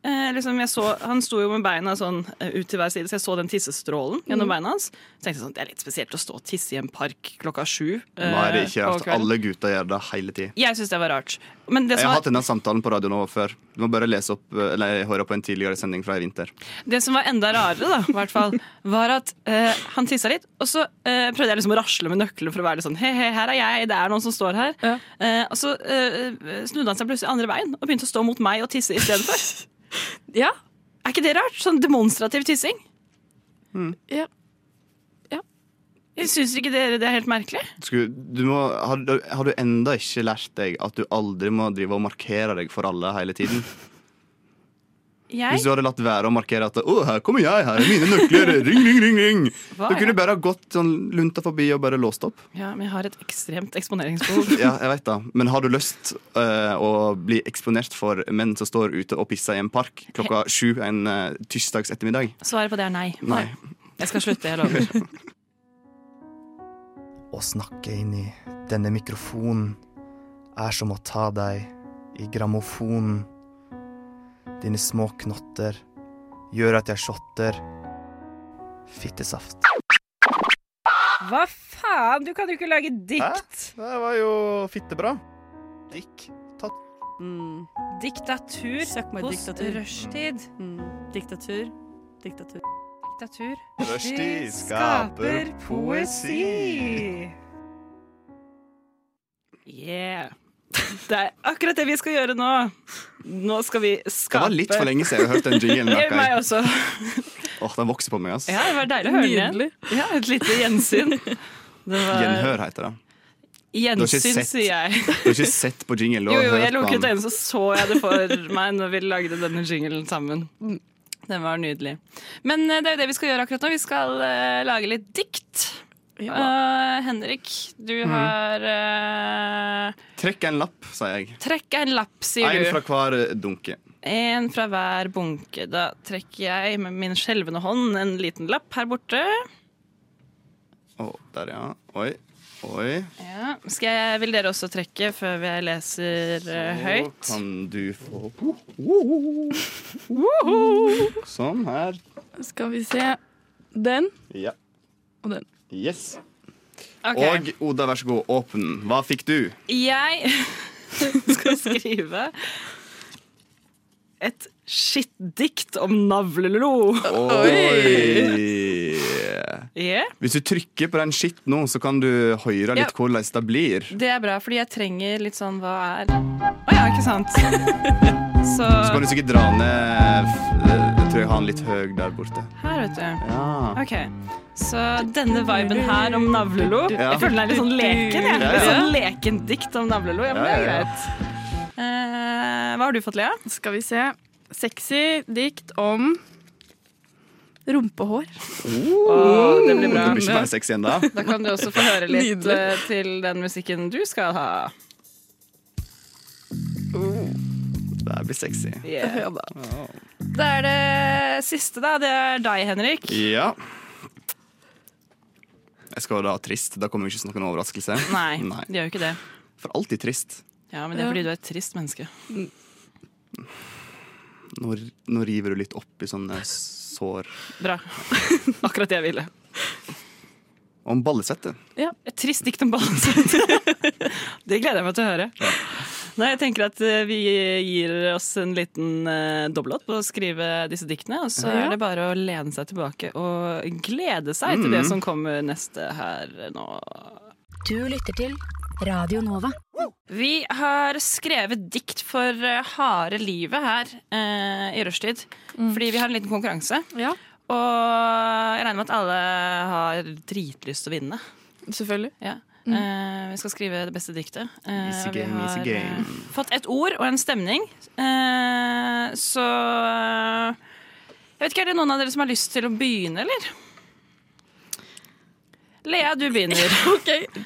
Eh, liksom jeg så, han sto jo med beina sånn eh, ut til hver side, så jeg så den tissestrålen Mm. gjennom beina hans. Så tenkte jeg sånn, Det er litt spesielt å stå og tisse i en park klokka sju. eh, Nei, det er ikke på rart. kvelden. Alle gutter gjør det hele tida. Jeg syns det var rart. Men det Jeg som har var, hatt denne samtalen på radioen også før. Du må bare lese opp, eh, eller høre på en tidligere sending fra i vinter. Det som var enda rarere, da, i hvert fall, var at eh, han tissa litt. Og så eh, prøvde jeg liksom å rasle med nøklene for å være litt sånn he, he, her er jeg, det er noen som står her. Ja. Eh, og så eh, snudde han seg plutselig andre veien og begynte å stå mot meg og tisse istedenfor. Ja. er ikke det rart? Sånn demonstrativ tissing. Mm. Ja. Ja. Jeg Syns ikke dere det er helt merkelig? Skulle, du må, har, du- har du enda ikke lært deg at du aldri må drive og markere deg for alle hele tiden? Hvis Jeg, du hadde latt være å markere at 'Å, her kommer jeg, her er mine nøkler', ring, ring, ring, ring. Hva Du er kunne det? bare ha gått sånn lunta forbi og bare låst opp. ja, men jeg har et ekstremt eksponeringsbehov. Ja, jeg vet det. Men har du lyst eh, å bli eksponert for menn som står ute og pisser i en park klokka sju en eh, tirsdags ettermiddag? Svaret på det er nei. Nei. Jeg skal slutte, jeg lover. Å snakke inn i denne mikrofonen er som å ta deg i grammofonen. Dine små knotter gjør at jeg shotter fittesaft. Hva faen? Du kan jo ikke lage dikt. Det var jo fittebra. Dick. Diktatur Mm. Søk meg hos diktatur. Mm. rushtid. Diktatur. Diktatur. Diktatur. Rushtid skaper poesi. Yeah. Det er akkurat det vi skal gjøre nå. Nå skal vi Det skape var litt for lenge siden jeg hørte den jinglen. Eh, Meg merker jeg. også. Åh, den vokser på meg, ass. Ja, det var deilig å høre den igjen. Nydelig. Ja, et lite gjensyn. Det var Gjenhør heter det. har ikke Gjensyn, sett- sier jeg. Du har ikke sett på jingle? du Jo, har jo, jeg hørt på lukket den. øynene, så så jeg det for meg når vi lagde denne jinglen sammen. Den var nydelig. Men eh, det er jo det vi skal gjøre akkurat nå. Vi skal eh, lage litt dikt. Eh, Henrik, du har eh, Trekk en lapp, sier jeg. Trekk en lapp, sier En du. fra hver dunke. En fra hver bunke. Da trekker jeg med min skjelvende hånd en liten lapp her borte. Å, der, ja. Oi. Oi. Ja. Skal jeg, vil dere også trekke før jeg leser eh, Nå høyt? kan du få Sånn her. Skal vi se. Den Ja. og den. Yes. Ok. Og Oda, vær så god, åpen. Hva fikk du? Jeg skal skrive et skittdikt om navlelo. Oi! Yeah. Hvis du trykker på den shit nå, så kan du Ja. høre litt hvordan det blir. Det er bra, fordi jeg trenger litt sånn hva er Å ja, ikke sant? Så Så kan du sikkert dra ned f- Jeg tror jeg har den litt høy der borte. her, vet du. Ja. Ok, Så denne viben her om navlelo Ja. Jeg føler den er litt sånn leken. Jeg. Ja, ja. Litt sånn leken dikt om navlelo. Ja, men det Ja, er ja, ja. greit. Eh, hva har du fått, Lea? Skal vi se. Sexy dikt om Rumpehår. Åh, det blir bra. Det blir ikke mer sexy ennå. Da kan du også få høre litt Nydelig. eh, til den musikken du skal ha. Det blir sexy. Yeah. Da er det siste, da. Det er deg, Henrik. Ja. Jeg skal være da trist. Da kommer vi ikke til å snakke om overraskelse. Nei, de gjør jo ikke det. For alltid trist. Ja, men det er fordi du er et trist menneske. Nå, nå river du litt opp i sånne sår. Bra. Akkurat det jeg ville. Om ballesettet. Et trist dikt om balanse. det gleder jeg meg til å høre. Nei, jeg tenker at eh, vi gir oss en liten uh, dobbeltlåt på å skrive disse diktene. Og så Ja. er det bare å lene seg tilbake og glede seg til det Mm. som kommer neste her nå. Du lytter til Radio Nova. Vi har skrevet dikt for eh, harde livet her eh, i rushtid. Fordi vi har en liten konkurranse. Og jeg regner med at alle har dritlyst til å vinne. Selvfølgelig. Ja. Mm. Eh, vi skal skrive det beste diktet. Eh, Easy og vi game, easy har, game. eh, fått et ord og en stemning. Eh, så eh, Jeg vet ikke, Er det noen av dere som har lyst til å begynne, eller? Lea, du begynner.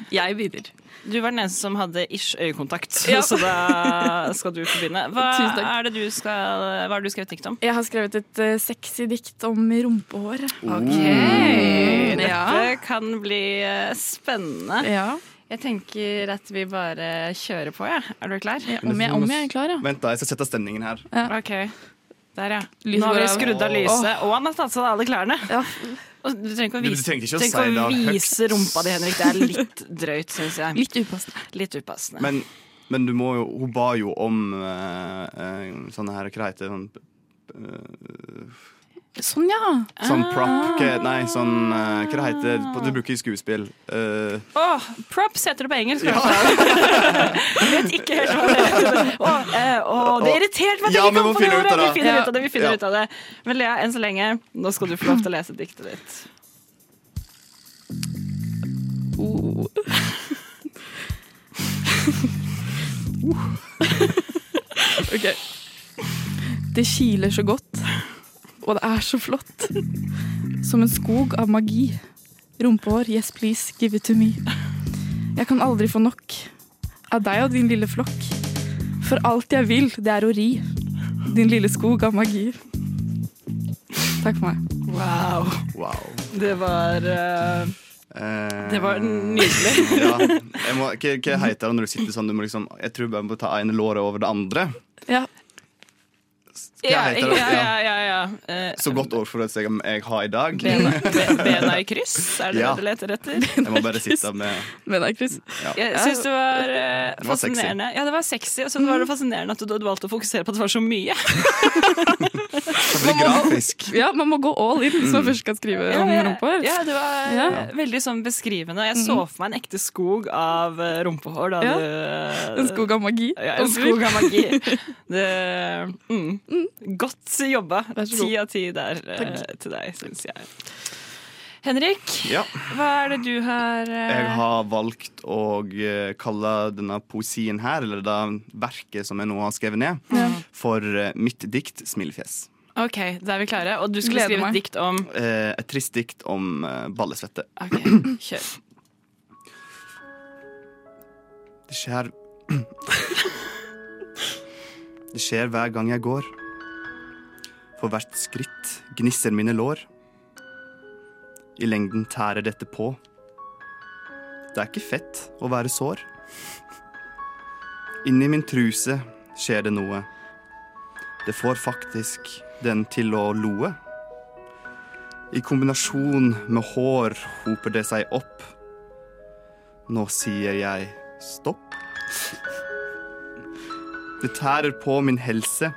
Jeg begynner. Du var den eneste som hadde ish øyekontakt, Ja. så da skal du få begynne. Hva Tusen takk. er det du skal Hva har du skrevet dikt om? Jeg har skrevet et eh, sexy dikt om rumpehår. Oh. Ok, Dette Ja. kan bli eh, spennende. Ja. Jeg tenker at vi bare kjører på, jeg. Er du klar? om jeg- om jeg er klar, ja. Vent, da. Jeg skal sette stemningen her. Ok, Der, ja. Lyset Nå har vi går av. skrudd av Åh. lyset, og han har tatt seg av alle klærne. Og Du trenger ikke å Du vise, trenger ikke å trenger si ikke å det høyt. vise rumpa di, Henrik. Det er litt drøyt, syns jeg. Litt upassende. Litt upassende. Men, men du må jo Hun ba jo om eh, eh, sånne her Hva heter det? Sånn, eh, Sånn, ja. sånn Ah. prop hva- Nei, sånn eh, Hva det heter det? Du bruker i skuespill. Eh, Åh, props heter det på engelsk. i hvert fall. Vet ikke helt hva det heter. Åh, eh, åh, det er irritert meg at Ja, jeg ikke men kom må på det finne ut ordet. av det. Vi finner Ja. ut av det. vi finner Ja. ut av det. Men Lea, enn så lenge, nå skal du få lov til å lese diktet ditt. Oh. ok. Det kiler så godt, og det er så flott. Som en skog av magi. Rumpehår, yes please, give it to me. Jeg kan aldri få nok av deg og din lille flokk. For alt jeg vil, det er å ri. Din lille skog av magi. Takk for meg. Wow. wow. Det var eh, Eh, Det var nydelig. ja. jeg må, hva, hva heter det når du sitter sånn? Du må liksom, jeg tror jeg må ta ene låret over det andre. Ja. Ja, heter ja, det? ja. ja, ja. Eh, Så godt ordforråd jeg, jeg har i dag. Bena, be- bena i kryss, er det Ja. det du leter etter? Jeg må bare sitte med Men det er kryss. ja. Jeg syns det var eh, Det var sexy. fascinerende. Ja, det var sexy, og så Mm. var det fascinerende at du hadde valgt å fokusere på at det var så mye. Det blir grafisk. Ja, man må gå all in hvis man først skal skrive om Mm. ja, rumpehår. ja, det var Ja. Mm. eh, veldig sånn beskrivende. Jeg så for meg en ekte skog av eh, rumpehår da Ja. du eh, En skog av magi. ja, en skog av magi. Det, mm. Godt jobba. Vær så god. Ti av ti der eh, Takk. til deg, syns jeg. Henrik, Ja. hva er det du har eh, Jeg har valgt å eh, kalle denne poesien her, eller det verket som jeg nå har skrevet ned, for eh, mitt dikt 'Smilefjes'. OK, da er vi klare. Og du skulle Gleder skrive meg. et dikt om Eh, Et trist dikt om eh, ballesvette. Kjør. Det skjer Det skjer hver gang jeg går. For hvert skritt gnisser mine lår. I lengden tærer dette på. Det er ikke fett å være sår. Inni min truse skjer det noe. Det får faktisk den til å loe. I kombinasjon med hår hoper det seg opp. Nå sier jeg stopp. Det tærer på min helse.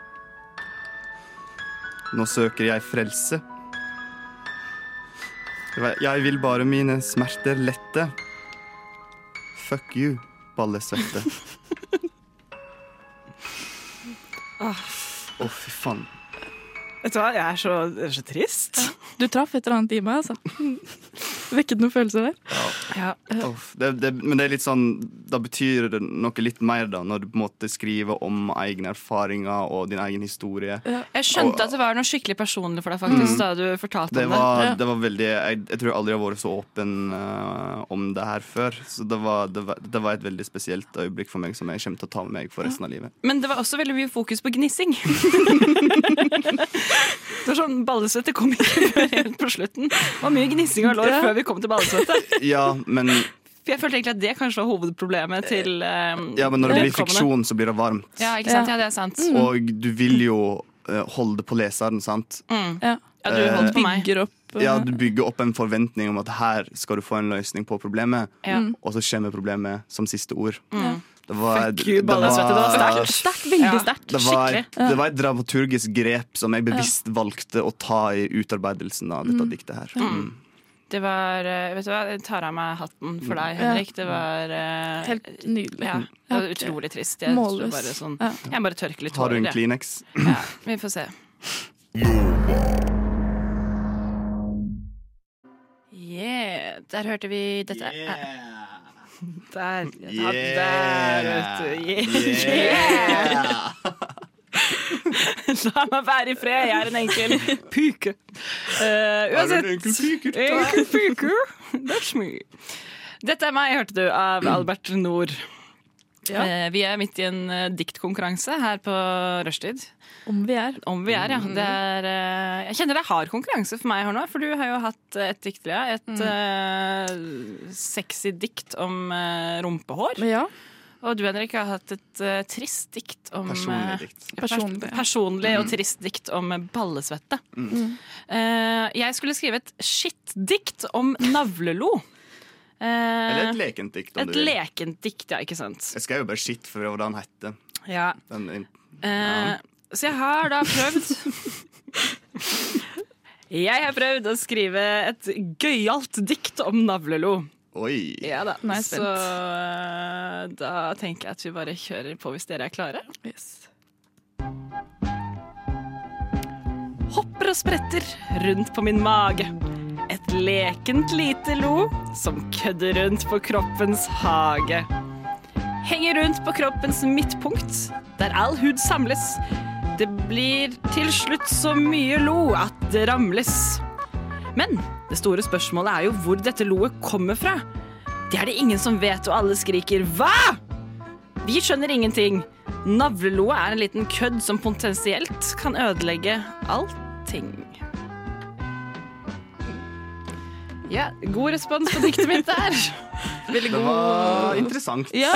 Nå søker jeg frelse. Jeg vil bare mine smerter lette. Fuck you, ballesvette. Å, fy faen. Vet du hva, jeg er så, jeg er så trist. Mm. Du traff et eller annet i meg, altså. Vekket noen følelser der. Ja. Uff, det, det, men det er litt sånn Da betyr det noe litt mer, da, når du på en måte skriver om egne erfaringer og din egen historie. Jeg skjønte at det var noe skikkelig personlig for deg faktisk Mm. da du fortalte Det om var, det. det var veldig jeg, jeg tror aldri jeg har vært så åpen eh, om det her før. Så det var, det, var, det var et veldig spesielt øyeblikk for meg som jeg kommer til å ta med meg for resten av livet. Men det var også veldig mye fokus på gnissing. det var sånn Ballesvette kom ikke før helt på slutten. Det var mye gnissing av lår Ja. før vi kom til ballesvette. Ja, men, For jeg følte egentlig at det kanskje var hovedproblemet til eh, ja, men når det blir vedkommende. friksjon, så blir det varmt. Ja, ikke sant? Ja, det er sant. Og du vil jo eh, holde på leseren, sant? Mm. Ja. du Eh, holdt på meg. Bygger opp Ja, du bygger opp en forventning om at her skal du få en løsning på problemet, Ja. Mm. og så kommer problemet som siste ord. Mm. Det var, Fuck you, ballesvette. Det var sterkt. Sterkt, veldig Ja. sterkt. Det var, Skikkelig. det var et dramaturgisk grep som jeg bevisst valgte å ta i utarbeidelsen av dette Mm. diktet her. Mm. Mm. Det var eh, Vet du hva, jeg tar av meg hatten for deg, Mm. Ja. Henrik. Det var eh, Helt nydelig. Ja, det var utrolig trist. Jeg tror Målløs. bare sånn Ja. Jeg må bare tørke litt Har du en jeg. Kleenex? Ja, vi får se. Yeah. Der hørte vi dette. Der. Ja, der, vet du. Yeah. La meg være i fred, jeg er en enkel puke. Eh, Er du en uansett enkel puke? Enkel puke. That's me. Dette er meg, hørte du, av Albert Nord. Ja. Eh, vi er midt i en eh, diktkonkurranse her på rushtid. Om vi er. Om vi er, ja. Mm. Det er, eh, jeg kjenner det er hard konkurranse for meg her nå, for du har jo hatt eh, et dikt, Lea. Et Mm. eh, sexy dikt om eh, rumpehår. Ja. Og du, Henrik, har hatt et eh, trist dikt om Personlig eh, dikt. pers- Personlig, ja. personlig og Mm. trist dikt om eh, ballesvette. Mm. Eh, jeg skulle skrive et skittdikt om navlelo. Eh, Eller et lekent dikt, om Et du vil. lekent dikt, ja, ikke sant. Jeg skal jo bare shit for hva den heter. Ja. Den, Eh, Så jeg har da prøvd Jeg har prøvd å skrive et gøyalt dikt om navlelo. Oi. Ja da. Nå er jeg Så eh, da tenker jeg at vi bare kjører på hvis dere er klare. Hopper og spretter rundt på min mage. Et lekent lite lo som kødder rundt på kroppens hage. Henger rundt på kroppens midtpunkt, der all hud samles. Det blir til slutt så mye lo at det ramles. Men det store spørsmålet er jo hvor dette loet kommer fra. Det er det ingen som vet, og alle skriker 'hva?' Vi skjønner ingenting. Navleloa er en liten kødd som potensielt kan ødelegge allting. Ja, god respons på diktet mitt der. Veldig det var interessant. Ja,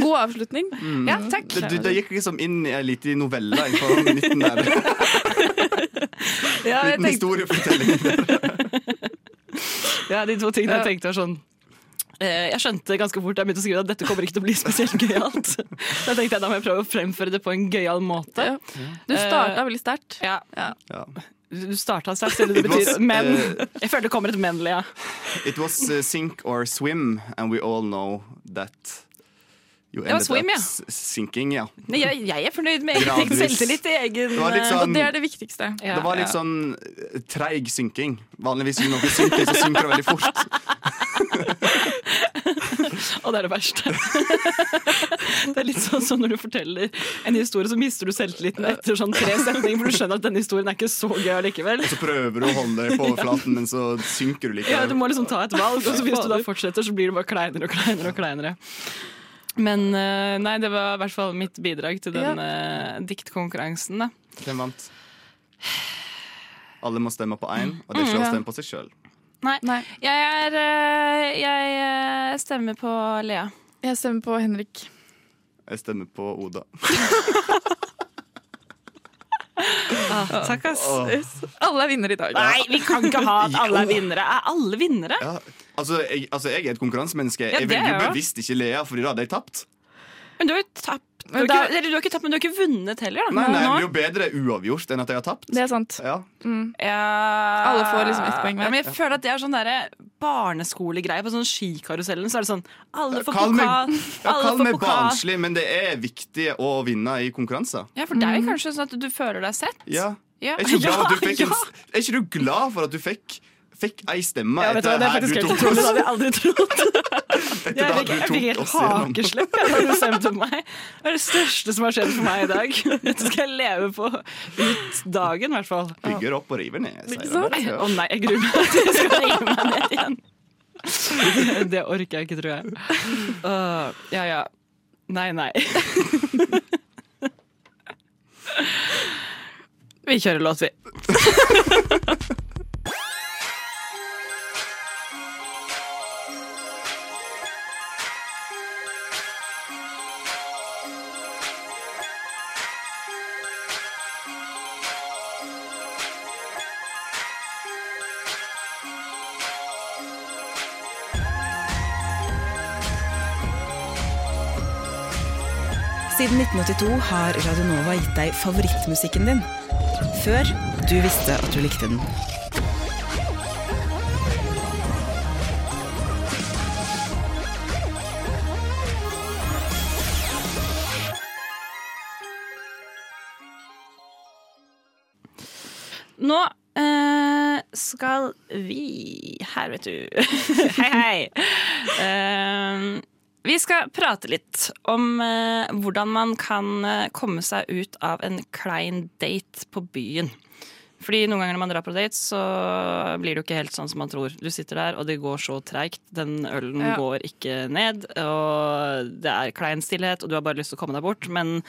god avslutning. Ja, takk. Det, du, det gikk liksom inn i en liten novelle jeg, på midten der. Ja, jeg liten tenkte- historiefortelling. Ja, de to tingene Ja. jeg tenkte var sånn eh, jeg skjønte ganske fort da jeg begynte å skrive at dette kommer ikke til å bli spesielt gøyalt. Da tenkte jeg da må jeg prøve å fremføre det på en gøyal måte. Du starta Eh, veldig sterkt. Ja. Ja. Du starta sterkt, selv om det betyr men. Jeg føler det kommer et men, Lea. It was uh, sink or swim, and we all know that you Det var ended swim, up ja. s- sinking, ja. Nei, Jeg, jeg er fornøyd med eget Gradvis. selvtillit i egen eh, Det var eh, litt sånn- Og det er det viktigste. det var litt sånn eh, treig synking. Vanligvis når noe synker, så synker det veldig fort. Og det er det verste. det er litt sånn som når du forteller en historie, så mister du selvtilliten etter sånn tre setninger, for du skjønner at denne historien er ikke så gøy allikevel. Så prøver du å holde deg på overflaten, men så synker du Ja, likevel. du må liksom ta et valg, og så hvis du da fortsetter, så blir det bare kleinere og kleinere. og kleinere. Men eh, nei, det var i hvert fall mitt bidrag til den eh, diktkonkurransen. da. Hvem vant? Alle må stemme på én, og det er Mm, ikke lov ja. å stemme på seg sjøl. Nei, jeg er eh, Jeg eh, stemmer på Lea. Jeg stemmer på Henrik. Jeg stemmer på Oda. Ah, takk, ass. Åh. Alle er vinnere i dag. Nei, vi kan ikke ha at alle er vinnere. Er alle vinnere? Ja, altså, jeg, altså, jeg er et konkurransemenneske. Ja, jeg det er velger jeg også. bevisst ikke Lea, Fordi da hadde jeg tapt. Men du har jo tapt. Du har, Men da- ikke, eller, du har ikke tapt, men du har ikke vunnet heller. Da. Nei, Nå. nei, Det blir jo bedre uavgjort enn at jeg har tapt. Det er sant. Ja. Mm. Ja. Alle får liksom ett poeng hver. Ja, men jeg føler at det er sånn derre barneskolegreie. På sånn skikarusellen så er det sånn Alle får Kall meg, pokal. ja, alle kall får meg pokal. barnslig, men det er viktig å vinne i konkurranser. Ja, for det er jo Mm. kanskje sånn at du føler deg sett. Ja. Ja. Er, ikke du glad for at du fikk Ja, en, er ikke du glad for at du fikk fikk ei stemme Ja, vet du hva, etter det er her faktisk du helt tok utrolig. Det oss. hadde jeg aldri trodd. Etter Jeg det fikk, du jeg tok fikk helt oss gjennom. hakeslepp jeg, da du bestemte meg. Det er det største som har skjedd for meg i dag. Dette skal jeg leve på ut dagen, i hvert fall. Bygger opp og river ned. Ikke sier sant? de. Å Ja. nei, jeg gruer meg til jeg skal rive meg ned igjen. Det orker jeg ikke, tror jeg. Åh, ja ja. Nei, nei. Vi kjører låt, vi. Siden 1982 har Radio Nova gitt deg favorittmusikken din. Før du visste at du likte den. Nå eh, skal vi Her, vet du. hei, hei. Eh, vi skal prate litt om eh, hvordan man kan eh, komme seg ut av en klein date på byen. Fordi noen ganger når man drar på date, så blir det jo ikke helt sånn som man tror. Du sitter der, og det går så treigt. Den ølen Ja. går ikke ned, og det er klein stillhet, og du har bare lyst til å komme deg bort, men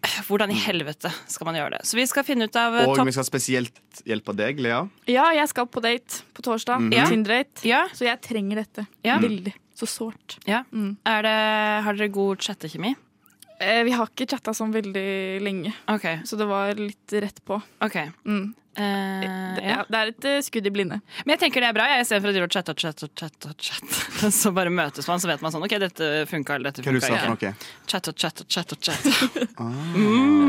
eh, hvordan i helvete skal man gjøre det? Så vi skal finne ut av eh, Og topp vi skal spesielt hjelpe deg, Lea. Ja, jeg skal på date på torsdag. Mhm. Ja. Ja. Tinder-date. Så jeg trenger dette. Ja. Veldig. Så sårt. Ja. Er det, har dere god chattekjemi? Eh, vi har ikke chatta sånn veldig lenge, så det var litt rett på. Ok. Mm. det, ja. det er et eh, skudd i blinde. Men jeg tenker det er bra, jeg, istedenfor å drive og chatte og chatte og chatte. og chatte. Så bare møtes man, så vet man sånn OK, dette funka, eller dette Hva du funka sa for ikke. noe? Chatte og chatte og chatte og chatte. Ja,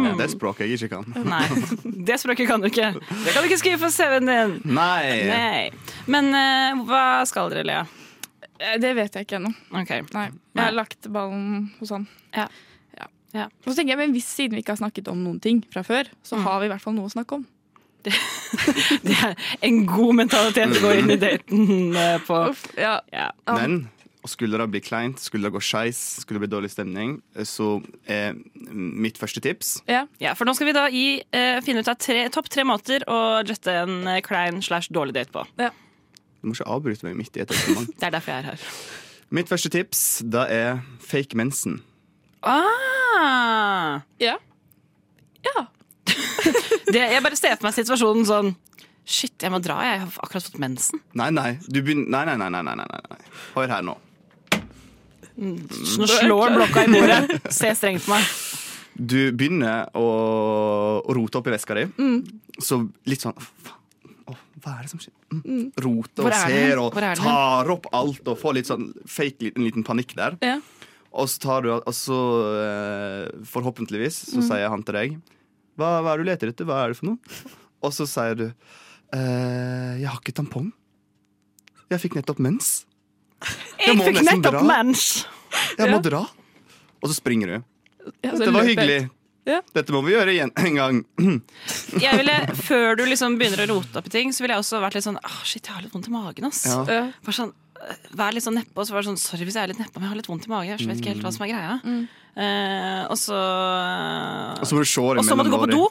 Det er et språk jeg ikke Mm. kan. Nei. Det språket kan du ikke. Det kan du ikke skrive på CV-en din. Nei. Nei. Men eh, hva skal dere, Lea? Eh, Det vet jeg ikke ennå. Ok. Nei. Jeg har lagt ballen hos han. Ja. Mm. Og så tenker jeg, men hvis siden vi ikke har snakket om noen ting fra før, så har vi i hvert fall noe å snakke om. En god mentalitet å gå inn i daten eh, på. ja. Ah. Men og skulle det bli kleint, skulle det gå skeis, skulle det bli dårlig stemning, så er mitt første tips Ja. for nå skal vi da i, eh, finne ut av tre, topp tre måter å jette en eh, klein slash dårlig date på. Du må ikke avbryte meg midt i et resonnement. Det er derfor jeg er her. Mitt første tips da er fake mensen. Ah. Ja. det, jeg bare ser for meg situasjonen sånn Shit, jeg må dra, jeg har akkurat fått mensen. Nei, nei, du begynner Nei, nei, nei, nei, nei, nei, nei. Hør her nå. Nå slår blokka i bordet. Se strengt på meg. Du begynner å, å rote opp i veska di, Mm. så litt sånn "Faen, åh, Hva er det som skjer? Mm. Roter Hvor og er ser den? og Hvor er den? tar opp alt og får litt sånn fake liten, liten panikk der. Ja. Og så tar du Og så eh, forhåpentligvis så Mm. sier han til deg hva, hva er det du leter etter? Hva er det for noe? Og så sier du eh, Jeg har ikke tampong. Jeg fikk nettopp mens. Jeg må fikk nesten nettopp dra. mens. Jeg må dra. Og så springer du. Ja, så Dette var løper jeg hyggelig. ut. Ja. Dette må vi gjøre igjen en gang. Jeg ville, Før du liksom begynner å rote opp i ting, så ville jeg også vært litt sånn Åh, shit, jeg har litt vondt i magen, ass. Ja. Ja. Bare sånn, eh, Vær litt sånn neppe, og så var det sånn Sorry hvis jeg er litt neppe, men jeg har litt vondt i magen. Jeg vet ikke helt hva som er greia. Mm. Eh, og så eh, Og så må du se det Og så må du mellom gå på lårene. do.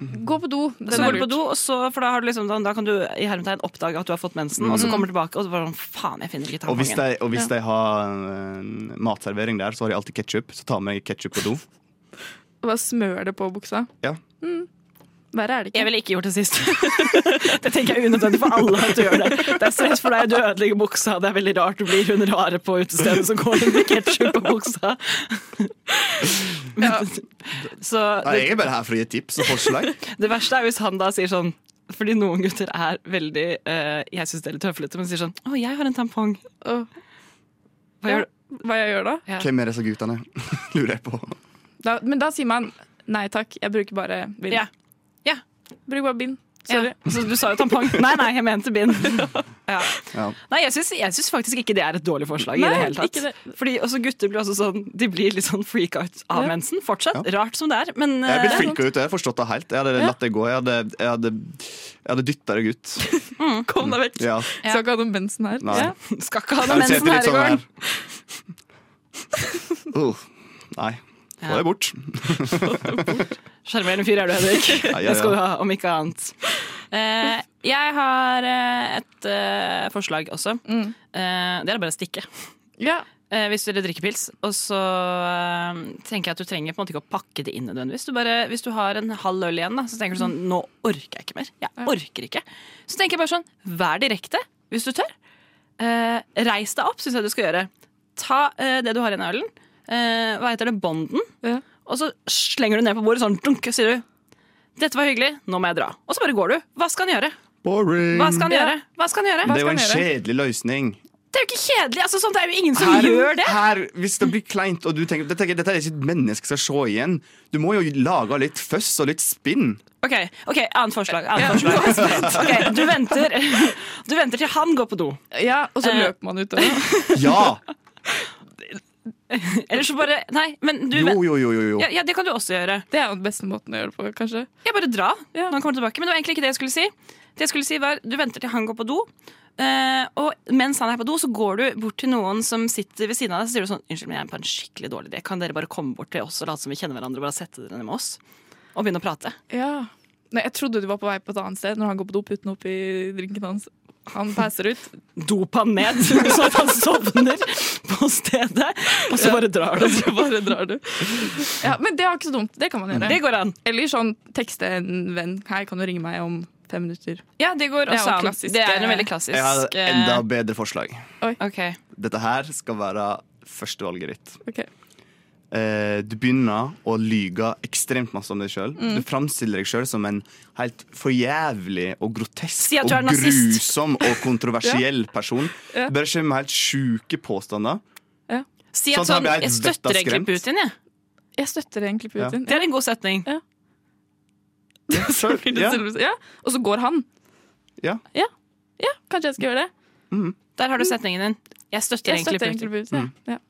Gå på do. Den Så er går du på lurt. do, og så, for da, har du liksom, da, da kan du i hermetegn oppdage at du har fått mensen, og så Mm. kommer du tilbake og så bare sånn Faen, jeg finner ikke Og hvis, tampongen. de, og hvis de har eh, matservering der, så har de alltid ketsjup. Så ta med deg ketsjup på do. Bare smør det på buksa. Ja. Mm. Verre er det ikke. Jeg ville ikke gjort det sist. det tenker jeg er unødvendig for alle at du gjør det. Det er stress for deg, du ødelegger buksa, det er veldig rart du blir hun rare på utestedet som går inn med ketsjup på buksa. Men, så Nei, jeg er bare her for å gi tips og forslag. det verste er hvis han da sier sånn fordi noen gutter er veldig eh, Jeg syns det er litt høflete, men sier sånn Å, jeg har en tampong. Åh. Hva gjør du? Hva jeg gjør da? Hvem er disse guttene? Lurer jeg på. da? Men da sier man nei takk, jeg bruker bare bind. Ja. Bruk bare bind. Sorry. Så du sa jo tampong. Nei, nei, jeg mente bind. ja. Ja. Nei, jeg syns, jeg syns faktisk ikke det er et dårlig forslag i Nei, det hele ikke tatt. Fordi også gutter blir også sånn De blir litt sånn freak out av Ja. mensen fortsatt. Rart som det er, men Jeg er blitt eh, flinkere ut, jeg har forstått det helt. Jeg hadde Ja. latt det gå. Jeg hadde, jeg hadde, jeg hadde dytta deg ut. Kom deg vekk. Ja. Skal ikke ha noe mensen her. Nei. Skal Jeg sitter litt sånn her. Uh, nei. Få Ja. deg bort. Sjarmerende fyr er du, Henrik. Ja, ja, ja. Det skal du ha, om ikke annet. Eh, jeg har eh, et eh, forslag også. Eh, det er bare å stikke. Eh, hvis dere drikker pils. Og så eh, tenker jeg at du trenger på en måte ikke å pakke det inn nødvendigvis. Du bare, hvis du har en halv øl igjen, da, så tenker du sånn Nå orker jeg ikke mer. Jeg orker ikke. Så tenker jeg bare sånn Vær direkte, hvis du tør. Eh, reis deg opp, syns jeg du skal gjøre. Ta eh, det du har igjen av ølen. Eh, hva heter det? Bonden. Og så slenger du ned på bordet sånn, dunk, og sier du 'Dette var hyggelig, nå må jeg dra'. Og så bare går du. Hva skal han gjøre? Boring. Hva skal han gjøre? Hva skal han gjøre? Det er jo en kjedelig løsning. Det er jo ikke kjedelig! Altså, sånn, det er jo ingen som gjør det. her, hvis det blir kleint, og du tenker dette, dette er ikke et menneske jeg skal se igjen, du må jo lage litt føss og litt spinn. Ok, ok, annet forslag. Annet forslag. Ok, du, venter, du venter til han går på do. Ja, og Eh. så løper man ut døra. Ja! Eller så bare Nei, men du Jo, jo, jo, jo, jo. Ja, ja, det kan du også gjøre. Det er jo den beste måten å gjøre det på, kanskje. Jeg bare dra når han kommer tilbake. Men det var egentlig ikke det jeg skulle si. Det jeg skulle si var, Du venter til han går på do, eh, og mens han er på do, så går du bort til noen som sitter ved siden av deg, så sier du sånn Unnskyld, men jeg er på en skikkelig dårlig idé. Kan dere bare komme bort til oss og late som vi kjenner hverandre, og bare sette dere ned med oss? Og begynne å prate. Ja. Nei, jeg trodde du var på vei på et annet sted når han går på do, putter den oppi drinken hans. Han passer ut. Dop han ned, så at han sovner på stedet, og så bare drar du. Og så bare drar du. Ja, men det er ikke så dumt. Det kan man Mm. gjøre. Det går an. Eller sånn tekste en venn. Hei, kan du ringe meg om fem minutter? Ja, det går Det er også jo an. klassisk, det er noe eh, veldig klassisk. Jeg har et enda bedre forslag. Ok. Dette her skal være førstevalget ditt. Ok. Eh, du begynner å lyge ekstremt masse om deg sjøl. Mm. Du framstiller deg sjøl som en helt forjævlig og grotesk Si at og du er nazist. grusom og kontroversiell person. Ja. Du bare kommer med helt sjuke påstander. Si at Sånn, da sånn, blir jeg jeg støtter egentlig vettaskremt. Putin, jeg. Jeg støtter egentlig Ja. Putin. Det er en god setning. Så blir det Ja. selvbestemt. ja. Og så går han. Ja. Ja. ja, kanskje jeg skal gjøre det. Der har du setningen din. Jeg støtter Jeg egentlig støtter Putin. egentlig Putin. Mm. Ja. Ja.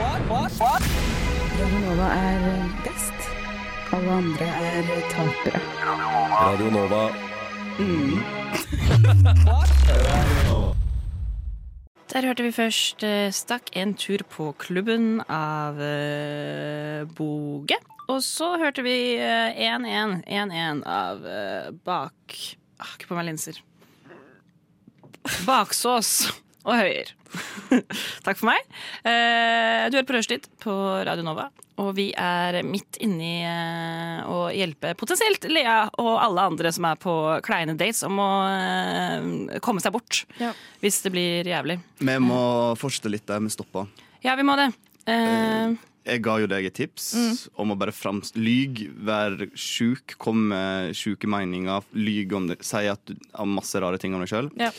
Radio Nova er best. Alle andre er tapere. Radio Nova. Der hørte vi først eh, Stakk en tur på klubben av eh, Boge. Og så hørte vi eh, 1-1 1-1 av eh, Bak... Jeg har ikke på meg linser. Baksås og høyer. Takk for meg. Eh, Du hører på Rushtid på Radio Nova, og vi er midt inni eh, å hjelpe potensielt Lea og alle andre som er på kleine dates, om å eh, komme seg bort hvis det blir jævlig. Vi må fortsette litt der vi stoppa. Ja, vi må det. Eh, Jeg ga jo deg et tips Mm. om å bare frams- lyg, være sjuk, komme med sjuke meninger, lyg om det, si at du har masse rare ting om deg sjøl, Ja.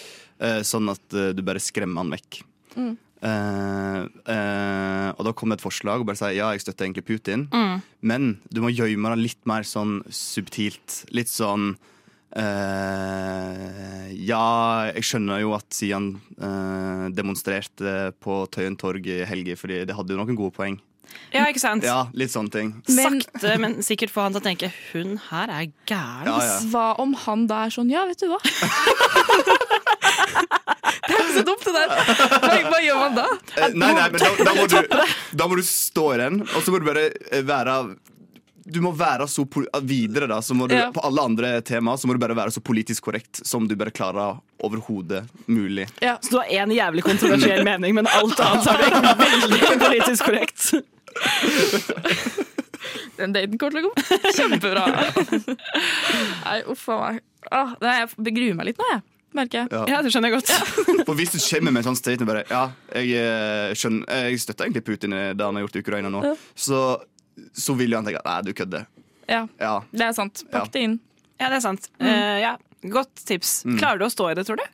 sånn at eh, du bare skremmer han vekk. Mm. Eh, eh, og da kom det et forslag og bare si ja, jeg støtter egentlig Putin, Mm. men du må gjemme det litt mer sånn subtilt. Litt sånn eh, Ja, jeg skjønner jo at Sian eh, demonstrerte på Tøyen torg i helga, fordi det hadde jo noen gode poeng. Eh, ja, ikke sant? Ja, litt sånne ting. Sakte, men sikkert få han til å tenke hun her er gæren. Ah, Ja, ja. Hva om han da er sånn Ja, vet du hva? det er ikke så dumt, det der. Hva, hva gjør man da? Eh, nei, nei, men da, da, må du, da må du stå igjen, og så må du bare eh, være du må være så pol videre da, så må du, Ja. På alle andre temaer så må du bare være så politisk korrekt som du bare klarer overhodet mulig. Så du har én jævlig kontroversiell mening, men alt annet er det veldig politisk korrekt. Den daten kommer til å gå kjempebra. Nei, uff a meg. Ah, nei, jeg gruer meg litt nå, jeg. Merker jeg. Ja. Ja, det skjønner jeg godt. For hvis du kommer med en sånn statement bare Ja, jeg, eh, skjønner, eh, jeg støtter egentlig Putin i det han har gjort i Ukraina nå, Ja. så, så vil jo han tenke Nei, du kødder. Ja, Ja. det er sant. Ja. Pakk det inn. Ja, det er sant. Mm. Eh, ja. Godt tips. Mm. Klarer du å stå i det, tror du?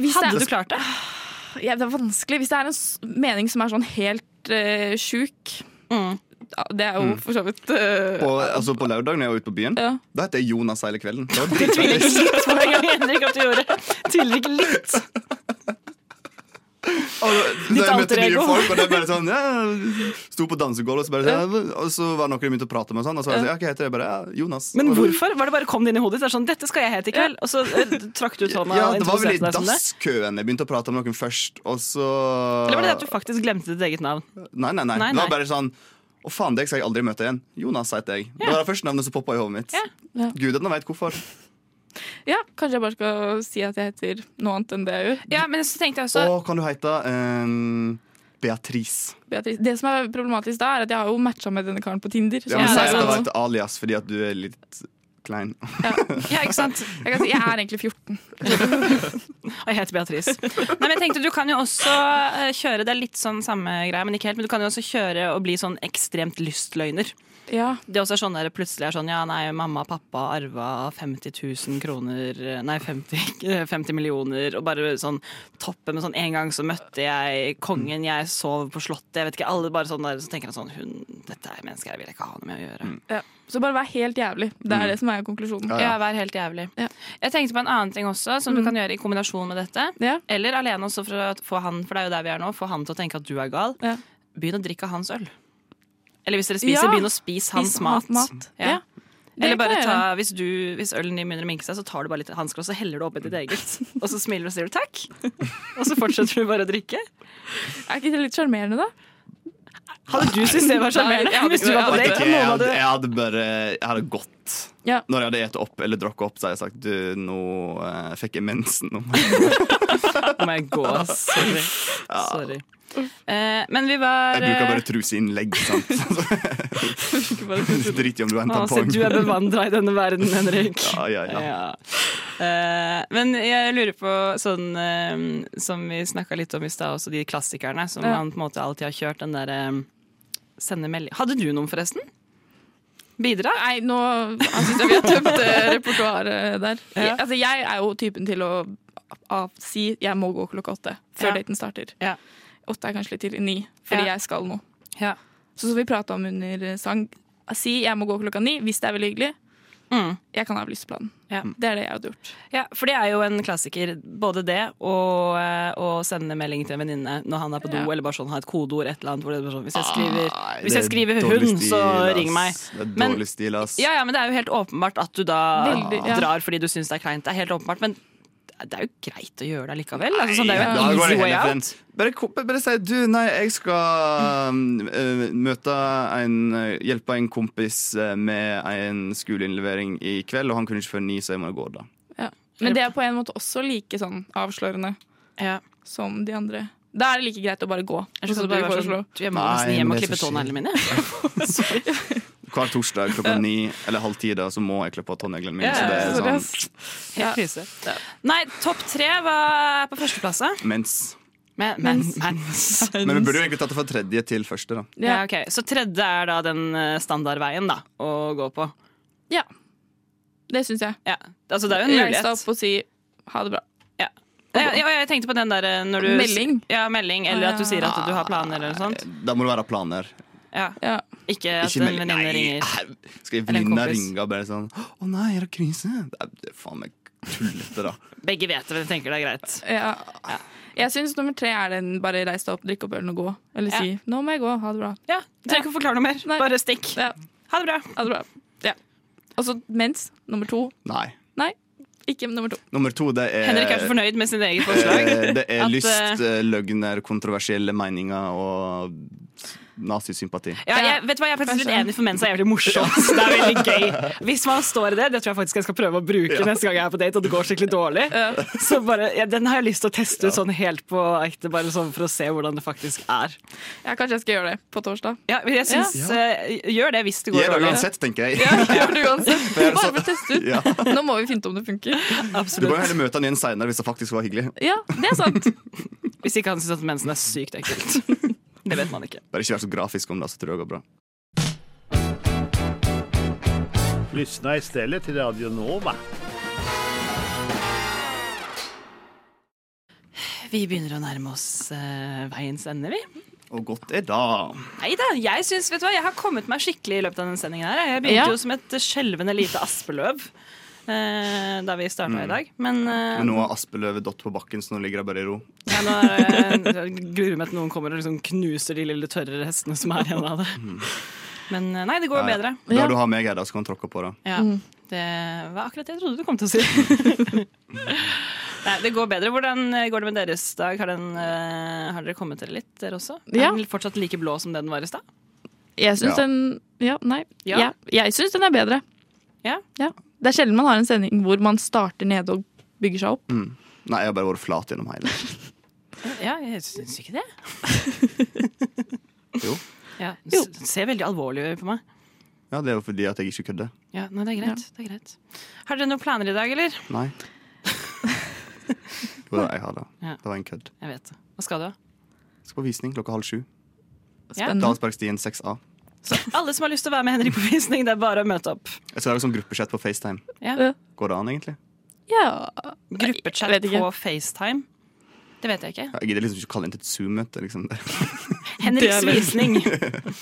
Hvis Hadde det- du klart det? Ja, det er vanskelig. Hvis det er en s- mening som er sånn helt eh, sjuk det er jo Mm. for så vidt eh, På, altså, på lørdag når jeg var ute på byen, Ja. da het jeg Jonas hele kvelden. Det var Jeg tviler dritlættis. ikke litt på en gang Henrik at du gjorde det. Tviler ikke litt. Så Ditt jeg møtte alter nye ego. folk, og det er bare sånn ja, Sto på dansegulvet, og så bare sånn, Og så var det noen de begynte å prate med, og sånn, og så var jeg sånn, ja, hva heter det? Jeg Bare, ja, Jonas. Men Og da- hvorfor? Var det bare kom det inn i hodet ditt? Det er sånn, Dette skal jeg hete i kveld. Og så eh, trakk du ut hånda Ja, og det var vel i introduserte deg som det? dasskøen jeg begynte å prate med noen først, og så Eller var det det at du faktisk glemte ditt eget navn? Nei, nei, nei. Nei, Det nei. var bare sånn Å, faen, deg skal jeg aldri møte igjen. Jonas heter jeg. Det Ja. var det første navnet som poppa i hodet mitt. Ja. Gudene veit hvorfor. Ja, kanskje jeg bare skal si at jeg heter noe annet enn det jeg gjør. Ja, men så tenkte jeg Og kan du hete ehm, Beatrice? Beatrice, det som er problematisk da, er at jeg har jo matcha med denne karen på Tinder. Ja, så men jeg si er at det var sånn- et alias fordi at du er litt klein. Ja, ikke sant? sånn- Jeg, kan si, jeg er egentlig 14. Og jeg heter Beatrice. Nei, men jeg tenkte Du kan jo også eh, kjøre det er litt sånn samme greie, men ikke helt, men du kan jo også kjøre og bli sånn ekstremt lystløgner. Ja. Det også er sånn der plutselig er sånn Ja, nei, mamma og pappa arva 50 000 kroner Nei, 50, eh, 50 millioner Og bare sånn toppe med sånn En gang så møtte jeg kongen Jeg sov på slottet Jeg vet ikke, alle bare sånn der Så tenker han sånn Hun, dette er mennesker Jeg vil ikke ha noe med å gjøre Ja. Så bare vær helt jævlig. Det er Mm. det som er konklusjonen. Ja, vær helt jævlig. Jeg tenkte på en annen ting også, som Mm. du kan gjøre i kombinasjon med dette. Eller alene også, for å få han, for det er jo der vi er nå, få han til å tenke at du er gal. Begynn å drikke hans øl. Eller hvis dere spiser, Ja. begynn å spise hans Spis mat. hans mat. Ja. Det Eller kan bare jeg ta, hvis, du, hvis ølen din begynner å minke seg, så tar du bare litt av hans glass og heller det oppi ditt eget. Og så smiler du og sier du takk. Og så fortsetter du bare å drikke. Er ikke det litt sjarmerende, da? Hadde du syntes det var sjarmerende? Nei, jeg hadde Hvis du var på Vet date, ikke, og jeg, noen hadde, hadde jeg hadde bare Jeg hadde gått. Ja. Når jeg hadde spist opp eller drukket opp, så hadde jeg sagt du, nå eh, fikk jeg mensen. Nå Oh my god, sorry. Ja. sorry. Eh, men vi var Jeg bruker eh, bare truseinnlegg, sant. Drit i om du er en Å, se, tampong. Ah, du er bevandra i denne verden, Henrik. Ja, ja, ja. Eh, men jeg lurer på, sånn eh, som vi snakka litt om i stad, også de klassikerne som Ja. man på en måte alltid har kjørt, den derre sende melding Hadde du noen, forresten? Bidra? Nei, nå jeg synes jeg vi har tømt eh, repertoaret der. Jeg, altså, jeg er jo typen til å av, si jeg må gå klokka åtte før Ja. daten starter. Åtte er kanskje litt tidlig. Ni. Fordi Ja. jeg skal nå. Ja. Så som vi prata om under eh, sang, si jeg må gå klokka ni hvis det er veldig hyggelig. Jeg kan avlyse planen. Ja. Det er det jeg hadde gjort. Ja, for det er jo en klassiker. Både det og eh, å sende melding til en venninne når han er på do, eller bare sånn ha et kodeord, et eller annet. Hvor det er bare sånn, hvis jeg skriver, Nei, hvis jeg Ah, det er skriver dårlig hund, så stil, ass. ring meg. Det er Men- dårlig stil, ass. Ja, ja, men det er jo helt åpenbart at du da Veldig, ja. drar fordi du syns det er kleint. Det er helt åpenbart, men det er jo greit å gjøre det likevel. Altså, sånn, det er Nei, jo da en går det easy way heller for en- out. Bare, ko- bare si du, nei, jeg skal um, eh, møte en eh, Hjelpe en kompis eh, med en skoleinnlevering i kveld, og han kunne ikke før ni, så jeg må gå da. Ja. Men det er på en måte også like sånn avslørende som de andre. Da er det like greit å bare gå. Jeg sånn trodde at bare vi det var foreslår. sånn, du, jeg må nesten Nei, hjem men og det er klippe så tåneglene mine. Hver torsdag klokka ni eller halv ti, da, så må jeg klippe av tåneglene mine. Ja, Så det er sånn Helt krise. Nei, topp tre var på førsteplass. da. mens. Men, men, mens. Men vi burde jo egentlig tatt det fra tredje til første, da. Ja, ok. Så tredje er da den eh, standardveien da, å gå på. Ja. Det syns jeg. Ja. Altså, det er jo en Reis deg mulighet. opp og si ha det bra. Ja. Ja, ja, jeg tenkte på den der eh, når du Melding? Ja, melding, eller at du sier at du har planer eller noe sånt. Da må det være planer. Ja. Ikke at Ikke en melding. venninne Nei, ringer. Skal jeg Eller en venninna kompis. ringe og bare sånn Å nei, er det krise? Det er, det er faen meg tullete, da. Begge vet det, men tenker det er greit. Ja. Jeg syns nummer tre er den bare reis deg opp, drikk opp ølen og gå. Eller si 'nå må jeg gå, ha det bra'. Ja, Trenger ikke å forklare noe mer. Bare stikk. Ha det bra. Ha det bra. Ja. Og så mens. Nummer to. Nei. Nei, ikke nummer to. Nummer to, det er Henrik er så fornøyd med sin eget forslag. Eh, Det er at, lyst, eh, eh, løgner, kontroversielle meninger og nazisympati. ja, jeg, vet du hva, jeg er faktisk litt enig for mens er jævlig morsomt. Det er veldig gøy. Hvis man står i det, det tror jeg faktisk jeg skal prøve å bruke neste gang jeg er på date og det går skikkelig dårlig. Så bare, ja, Den har jeg lyst til å teste ut sånn helt på ekte, bare sånn for å se hvordan det faktisk er. Ja, kanskje jeg skal gjøre det på torsdag. Ja, men jeg synes, Ja. eh, Gjør det hvis det går Gjør det dårlig. uansett, tenker jeg. Ja, gjør det uansett. For jeg er Bare så- for å teste ut. Ja. Nå må vi finne ut om det funker. Du må jo heller møte han igjen seinere hvis det faktisk var hyggelig. Ja, det er sant. Hvis ikke han syns at mensen er sykt ekkelt. Det vet man ikke. Bare ikke vær så grafisk om det, så tror jeg det går bra. Lyssna istället till Radio Nova. Vi begynner å nærme oss eh, veiens ende, vi. Og godt er da. Nei da, jeg synes, vet du hva, jeg har kommet meg skikkelig i løpet av denne sendingen. her. Jeg begynte Ja. jo som et skjelvende lite aspeløv eh, da vi starta Mm. i dag. Men eh, Men nå er aspeløvet dott på bakken, så nå ligger jeg bare i ro. ja, nå er det- jeg gruer meg til noen kommer og liksom knuser de lille tørre restene som er igjen av det. Men eh, nei, det går jo Mm. Ja, ja. bedre. Da du har meg her, da, så kan du tråkke på det. Ja, Det var akkurat det jeg trodde du kom til å si. Nei, det går bedre. Hvordan eh, går det med deres dag? Har, den, eh, har dere kommet dere litt, dere også? Ja. Er den fortsatt like blå som det den var i stad? Jeg syns Ja. den Ja, nei. Ja. Ja. Jeg syns den er bedre. Ja. Det er sjelden man har en sending hvor man starter nede og bygger seg opp. Mm. Nei, jeg har bare vært flat gjennom hele. Ja, jeg syns ikke det. Jo. Ja, s- Ser veldig alvorlig ut på meg. Ja, det er jo fordi at jeg ikke kødder. Ja, nei, det er greit. Det er greit. Har dere noen planer i dag, eller? Nei. Jo da, jeg har det. Ja. Det var en kødd. Jeg vet det. Hva skal du? da? Jeg skal på visning klokka halv sju. Ja. Mhm. Dalsbergstien 6A. Så alle som har lyst til å være med Henrik på visning, det er bare å møte opp. Jeg skal lage sånn gruppechat på FaceTime. Ja. Går det an, egentlig? Gruppechat på FaceTime. Det vet jeg ikke. Jeg gidder liksom ikke å kalle inn til et Zoom-møte. Liksom. Henriks Det er visning. veldig-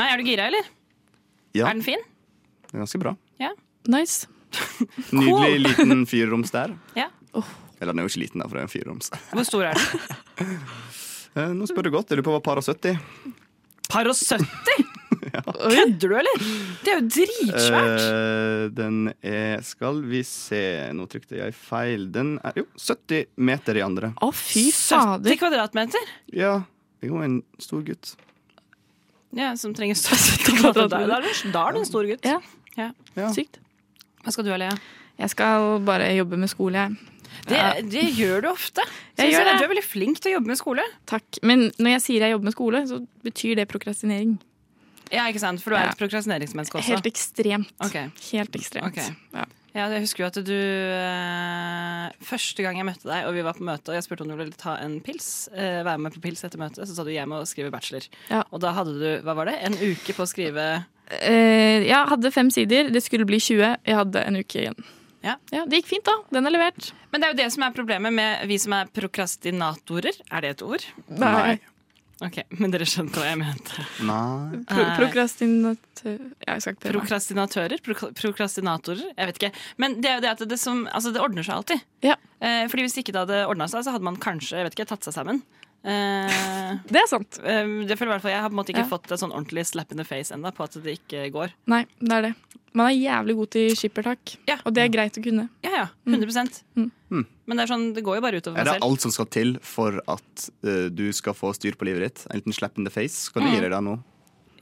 Nei, er du gira, eller? Ja, Er den fin? det er ganske bra. Ja. Nice. Nydelig liten fireroms der. Ja. Eller den er jo ikke liten, da, for det er en fireroms. Hvor stor er den? Eh, Nå spør du godt. Jeg lurer på hva par og 70 Par og 70? Kødder du, eller? Det er jo dritsvært. Eh, den er Skal vi se, nå trykte jeg feil. Den er jo 70 meter i andre. Å, fy 70 kvadratmeter? Ja. Det er jo en stor gutt. Ja, som trenger støtte. Da er du da er du en stor gutt. Ja. Sykt. Hva skal du, Alea? Jeg skal bare jobbe med skole, jeg. Det, det gjør du ofte. Synes Jeg gjør det. Du er veldig flink til å jobbe med skole. Takk. Men når jeg sier jeg jobber med skole, så betyr det prokrastinering. Ja, ikke sant? For du er Ja. et prokrastineringsmenneske også. Helt ekstremt. Ok. Helt ekstremt. Ok. Ja, jeg husker jo at du eh, Første gang jeg møtte deg, og vi var på møte, og jeg spurte om du ville ta en pils, eh, være med på pils etter møtet, så sa du jeg må skrive bachelor. Ja. Og da hadde du, hva var det, en uke på å skrive Eh, jeg hadde fem sider, det skulle bli 20. Jeg hadde en uke igjen. Ja. Det gikk fint, da. Den er levert. Men det er jo det som er problemet med vi som er prokrastinatorer. Er det et ord? Nei. Ok, Men dere skjønte hva jeg mente. Nei. Pro Nei. Prokrastinatør ja, Jeg skal ikke prøve. Prokrastinatører? Prok prokrastinatorer? Jeg vet ikke. Men det er jo det at det, som, altså det ordner seg alltid. Eh, fordi hvis ikke det hadde ordna seg, så hadde man kanskje jeg vet ikke, tatt seg sammen. Eh, det er sant. det føler jeg, i hvert fall, jeg har på en måte ikke Ja. fått et sånn ordentlig slap in the face ennå på at det ikke går. Nei, det er det. Man er jævlig god til skippertak, og det er greit å kunne. Ja, ja, 100 Hmm. Men det er sånn, det går jo bare utover Er meg det selv. alt som skal til for at eh, du skal få styr på livet ditt? En liten slap in the face? Skal du gi Mm. deg det nå?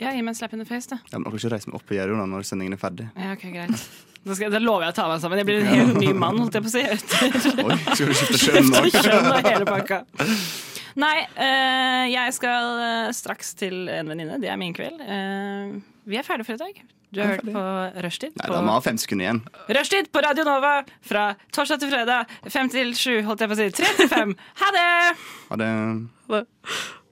Ja, gi meg en slap in the face, da. Ja, men dere skal ikke reise meg opp i gjerdet når sendingen er ferdig. Ja, ok, greit. Da, skal, da lover jeg å ta meg sammen. Jeg blir en helt ny mann, holdt jeg på å si. etter- Oi, skal du skifte kjønn nå? Skifte kjønn og hele pakka. Nei, eh, jeg skal eh, straks til en venninne. Det er min kveld. Eh, vi er ferdige for i dag. Du har hørt på Rushtid. Nei, på- da må vi ha fem sekunder igjen. Rushtid på Radio Nova fra torsdag til fredag fem til sju, holdt jeg på å si. Tre til fem. Ha det! Ha det.